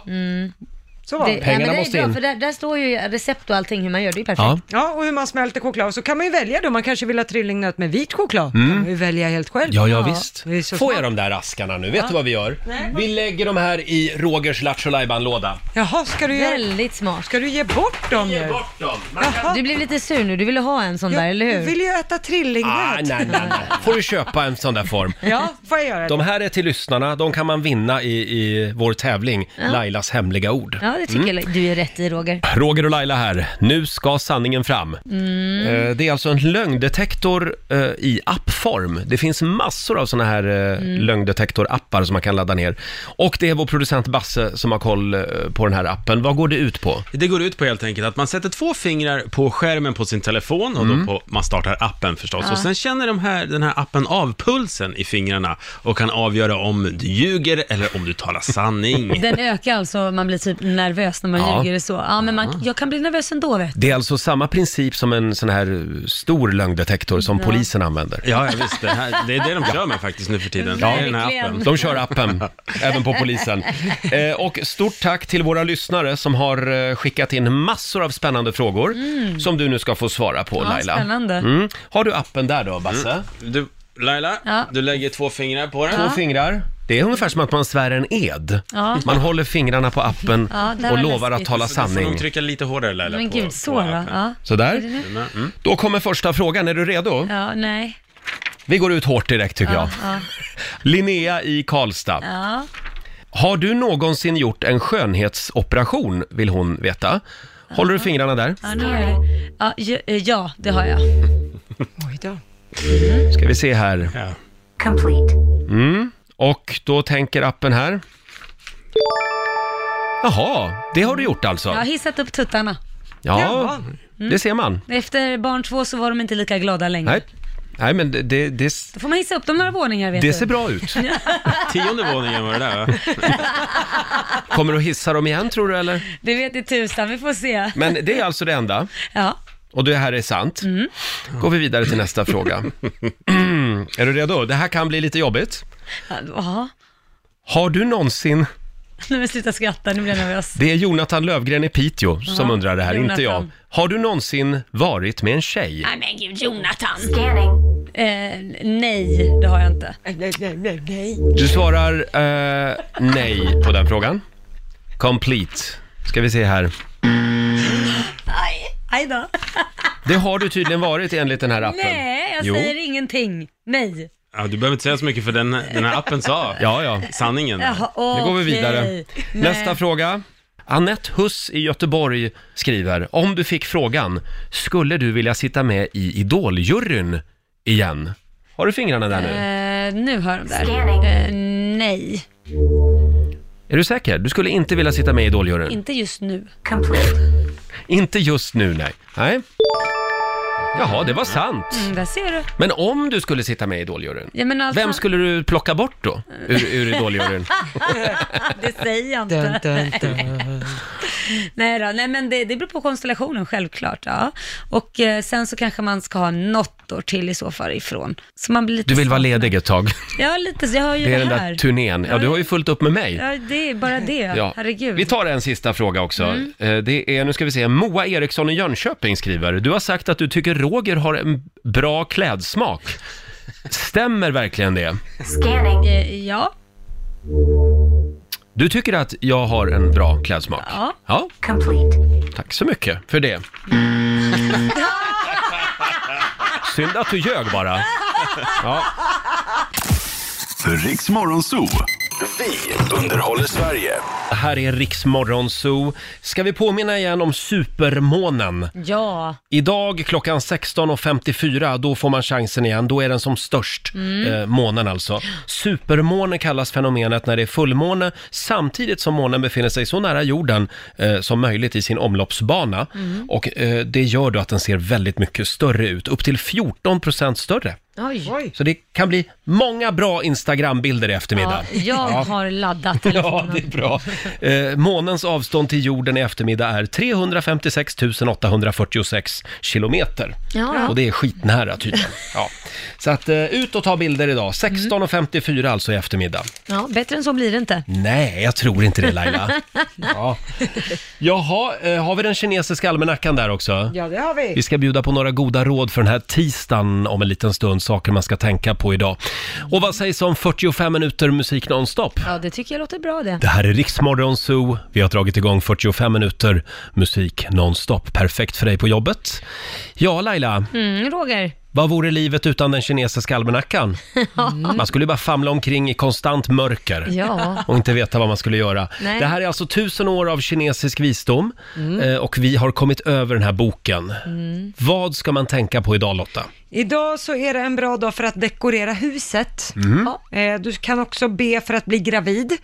Så var det. ja, men det måste är in. bra, för där, där står ju recept och allting hur man gör, det är ju perfekt. Ja. Ja, och hur man smälter choklad. Så kan man ju välja då, man kanske vill ha trillingnöt med vit choklad. kan man ju välja helt själv. Mm. Ja, ja visst. det är så Får smart. jag de där askarna nu? Vet du vad vi gör? Vi lägger de här i Rogers Lattjo låda Jaha, ska du, göra, Väldigt smart. ska du ge bort dem nu? bort dem! Jaha, Du blev lite sur nu, du ville ha en sån där, eller hur? du vill ju äta Ah, trillingnöt. nej, nej, nej. Får du köpa en sån där form. (laughs) Ja, får jag göra det? De här är till lyssnarna, de kan man vinna i, i vår tävling Lailas hemliga ord. Mm. Ja, det tycker jag. Du är rätt i Roger. Roger och Laila här, nu ska sanningen fram. Mm. Eh, Det är alltså en lögndetektor eh, i appform. Det finns massor av sådana här mm. lögndetektorappar som man kan ladda ner. Och det är vår producent Basse som har koll eh, på den här appen. Vad går det ut på? Det går ut på helt enkelt att man sätter två fingrar på skärmen på sin telefon och då Mm. på, man startar appen förstås. Och sen känner de här, den här appen av pulsen i fingrarna och kan avgöra om du ljuger eller om du talar sanning. Den ökar alltså, man blir typ nervös när man Ja. Ah. ljuger och så. Ja, men man, jag kan bli nervös ändå vet du. Det är alltså samma princip som en sån här eh, stor lögndetektor som polisen använder. Ja, ja visst. Det, här, det är det de kör med faktiskt nu för tiden. Ja. Det är den här appen. De (laughs) kör appen, även på polisen. Eh, och stort tack till våra lyssnare som har eh, skickat in massor av spännande frågor som du nu ska få svara på Mm. Ja, Laila. spännande. Mm. Har du appen där då, Basse? Mm. Du, Laila, Ja. du lägger två fingrar på den. Två fingrar. Det är ungefär som att man svär en ed. Ja. Man håller fingrarna på appen Ja, det här och var lovar att läskigt. tala Så du får nog sanning. trycka lite hårdare Laila Men på, gud, på så då. appen. Ja. Sådär. Mm, Mm. Då kommer första frågan. Är du redo? ja, nej. Vi går ut hårt direkt tycker jag. Ja, Linnea i Karlstad. ja. Har du någonsin gjort en skönhetsoperation, vill hon veta. Håller du fingrarna där? ja, nu är det. Ja, ja, eh, ja, det har jag. Oj då. Ska vi se här. Mm. Ja. Complete. Och då tänker appen här. Jaha, det har du gjort Jag har alltså? hissat upp tuttarna. Mm. Ja, Mm. det ser man. Efter barn två så var de inte lika glada längre. Nej, Nej men det, det, det, Då får man hissa upp dem några våningar vet det du. ser (laughs) bra ut. Tionde våningen var det där va? Kommer du att hissa dem igen tror du eller? Det vet i tusan, vi får se. Men det är alltså det enda. Ja. Och det här är sant. Går vi vidare till nästa fråga. (clears throat) är du redo? Det här kan bli lite jobbigt. Ja, Har du någonsin nu men sluta skratta, nu blir jag nervös. Det är Jonathan Lövgren i Piteå som Jaha, undrar det här, inte jag. Jonathan. Har du någonsin varit med en tjej? Nej men gud, Jonathan. Scanning. Eh, nej, det har jag inte. Du svarar eh, nej på den frågan. Complete. Ska vi se här. Aj då. Det har du tydligen varit enligt den här appen. Nej, jag jo. säger ingenting. Nej. Ja, du behöver inte säga så mycket för den, den här appen sa Ja, ja. sanningen. Jaha, Nu går vi okej. vidare. Nej. Nästa fråga. Annette Huss i Göteborg skriver, om du fick frågan, skulle du vilja sitta med i Idoljuryn igen? Har du fingrarna där nu? Eh, nu har de där. Scanning. Eh, nej, Är du säker? Du skulle inte vilja sitta med i Idoljuryn? inte just nu. Complete. Inte just nu, nej. Nej. Jaha, det var sant. Mm, där ser du. Men om du skulle sitta med i Idoljuryn, Jag menar, vem skulle du plocka bort då ur, ur Idoljuryn? (laughs) Det säger jag inte. Dun, dun, dun. Nej då, nej men det, det beror på konstellationen självklart. Ja. Och eh, sen så kanske man ska ha något år till i så fall ifrån. Så man blir lite Du vill vara ledig ett tag. Ja, lite så. Jag har ju Det det, är den här. där turnén. Ja, du har ju fullt upp med mig. ja, det är bara det. Ja. Herregud. Vi tar en sista fråga också. Eh, Det är, nu ska vi se, Moa Eriksson i Jönköping skriver. Du har sagt att du tycker Roger har en bra klädsmak. Stämmer verkligen det? Scanning. Eh, ja, Du tycker att jag har en bra klädsmak? Ja. ja Complete. Tack så mycket för det. Synd att du ljög bara. Ja. för Riks Morgonzoo. Vi underhåller Sverige. Här är Riksmorgon Zoo. Ska vi påminna igen om supermånen? Ja. Idag klockan 16.54, då får man chansen igen. Då är den som störst, Mm. eh, månen alltså. Supermåne kallas fenomenet när det är fullmåne samtidigt som månen befinner sig så nära jorden eh, som möjligt i sin omloppsbana. Mm. Och eh, det gör då att den ser väldigt mycket större ut, upp till 14% större. Oj. Så det kan bli många bra Instagram-bilder i Ja, eftermiddag. jag Ja. har laddat (laughs) Ja, telefonen. det är bra. Eh, månens avstånd till jorden i eftermiddag är 356 846 kilometer. Ja, ja. Och det är skitnära tydligen. Ja. Så att eh, ut och ta bilder idag. 16.54 alltså i eftermiddag. Ja, bättre än så blir det inte. Nej, jag tror inte det (laughs) Laila. Ja. Jaha, eh, har vi den kinesiska almanackan där också? Ja, det har vi. Vi ska bjuda på några goda råd för den här tisdagen om en liten stund, saker man ska tänka på idag. Och vad sägs om 45 minuter musik nonstop? Ja, det tycker jag låter bra det. Det här är Riksmorgon Zoo. Vi har dragit igång 45 minuter musik nonstop. Perfekt för dig på jobbet. Ja, Laila, Mm, Roger. vad vore livet utan den kinesiska almanackan? Man skulle ju bara famla omkring i konstant mörker Mm. Ja. och inte veta vad man skulle göra. Nej. Det här är alltså tusen år av kinesisk visdom Mm. eh, och vi har kommit över den här boken. Mm. Vad ska man tänka på idag, Lotta? Idag så är det en bra dag för att dekorera huset. Mm. Eh, Du kan också be för att bli gravid.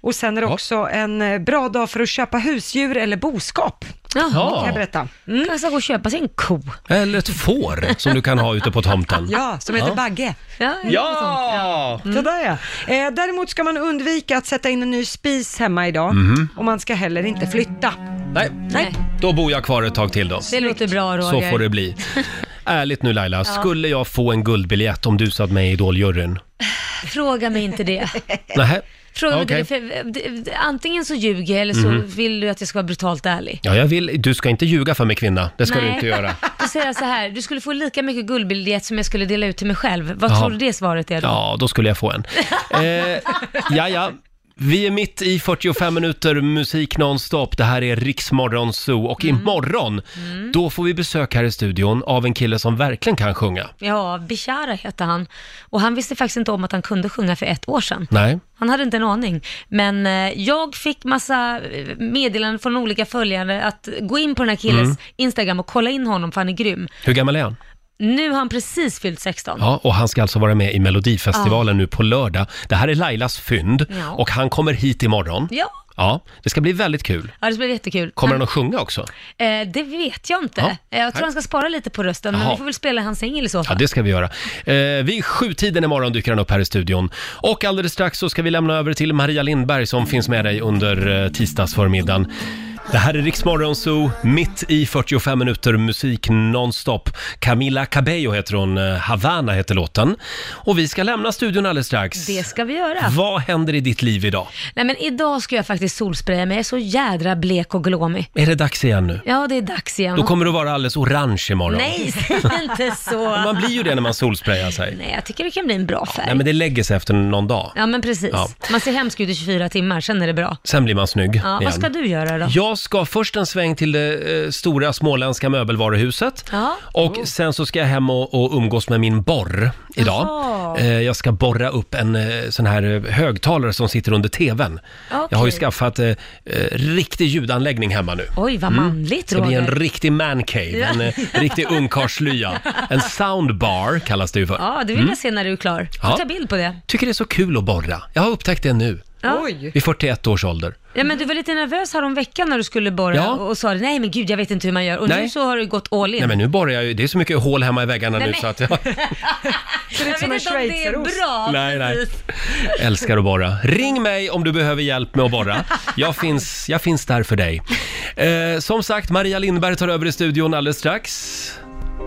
Och sen är det också en eh, bra dag för att köpa husdjur eller boskap. Jaha. Kan jag berätta. Mm. Kanske gå och köpa sig en ko. Eller ett får som du kan ha ute på tomten. Ja, som heter Bagge. Ja! Ja! Mm. Sådär ja. Eh, däremot ska man undvika att sätta in en ny spis hemma idag. Mhm. Och man ska heller inte flytta. Nej, Nej. då bor jag kvar ett tag till då. Det låter bra Roger. Så får det (laughs) bli. Ärligt nu Laila, Ja. skulle jag få en guldbiljett om du satt med i Idoljuryn? Fråga mig inte det. Nähä? Fråga mig Okej. inte det. För, d- d- antingen så ljuger jag eller så Mhm. vill du att jag ska vara brutalt ärlig. Ja, jag vill, du ska inte ljuga för mig kvinna. Det ska du Nej. inte göra. Då säger jag så här, du skulle få lika mycket guldbiljett som jag skulle dela ut till mig själv. Vad Jaha. tror du (laughs) det svaret är då? Ja, då skulle jag få (laughs) en. Eh, ja, ja. Vi är mitt i 45 minuter musik nonstop. Det här är Riksmorgon Zoo och Mm. imorgon, då får vi besök här i studion av en kille som verkligen kan sjunga. Ja, Bishara heter han. Och han visste faktiskt inte om att han kunde sjunga för ett år sedan. Nej. Han hade inte en aning. Men eh, jag fick massa eh, meddelanden från olika följare att gå in på den här killens Mm. Instagram och kolla in honom för han är grym. Hur gammal är han? Nu har han precis fyllt 16. Ja, och han ska alltså vara med i Melodifestivalen nu på lördag. Det här är Lailas fynd Ja. och han kommer hit imorgon. Ja. Ja, det ska bli väldigt kul. Ja, det blir jättekul. Kommer han han, att sjunga också? eh, det vet jag inte. Ja. Eh, Jag tror Nej. han ska spara lite på rösten, men Jaha. vi får väl spela hans singel i så Ja, fall. det ska vi göra. Eh, vid sjutiden imorgon dyker han upp här i studion. Och alldeles strax så ska vi lämna över till Maria Lindberg som finns med dig under eh, tisdagsförmiddagen. Det här är Riksmorgon Zoo, mitt i 45 minuter musik nonstop. Camila Cabello heter hon, eh, Havana heter låten. Och vi ska lämna studion alldeles strax. Det ska vi göra. Vad händer i ditt liv idag? Nej men idag ska jag faktiskt solspraya mig, jag är så jädra blek och glåmig. Är det dags igen nu? Ja, det är dags igen. Då kommer du vara alldeles orange imorgon. (laughs) Nej, säg (laughs) inte så. Man blir ju det när man solsprayar sig. Nej, jag tycker det kan bli en bra färg. Nej, men det lägger sig efter någon dag. Ja, men precis. Ja. Man ser hemsk ut i 24 timmar, sen är det bra. Sen blir man snygg Ja, igen. vad ska du göra då? Jag ska först en sväng till det eh, stora småländska möbelvaruhuset. Ja. Och sen så ska jag hem och, och umgås med min borr idag. Jaha. Eh, jag ska borra upp en eh, sån här eh, högtalare som sitter under tvn. Okej. Jag har ju skaffat eh, eh, riktig ljudanläggning hemma nu. Oj, vad manligt Det blir en Roger. riktig mancave, Ja. en eh, riktig ungkarlslya. En soundbar kallas det ju för. Ja, det vill jag se när du är klar. Mm. Ja. Ja. Ta bild på det. Tycker det är så kul att borra. Jag har upptäckt det nu, Ja. Oj! vid 41 års ålder. Ja, men du var lite nervös här om veckan när du skulle borra Ja. och och sa nej men gud jag vet inte hur man gör och Nej. nu så har du gått all in. Nej men nu borrar jag ju, det är så mycket hål hemma i väggarna Nej, nu men- så att jag Ser ut (laughs) jag som en vet inte om det är schweizerost. bra. (laughs) Nej, nej. precis. (laughs) älskar att borra. Ring mig om du behöver hjälp med att borra. Jag finns, jag finns där för dig. Eh, som sagt, Maria Lindberg tar över i studion alldeles strax.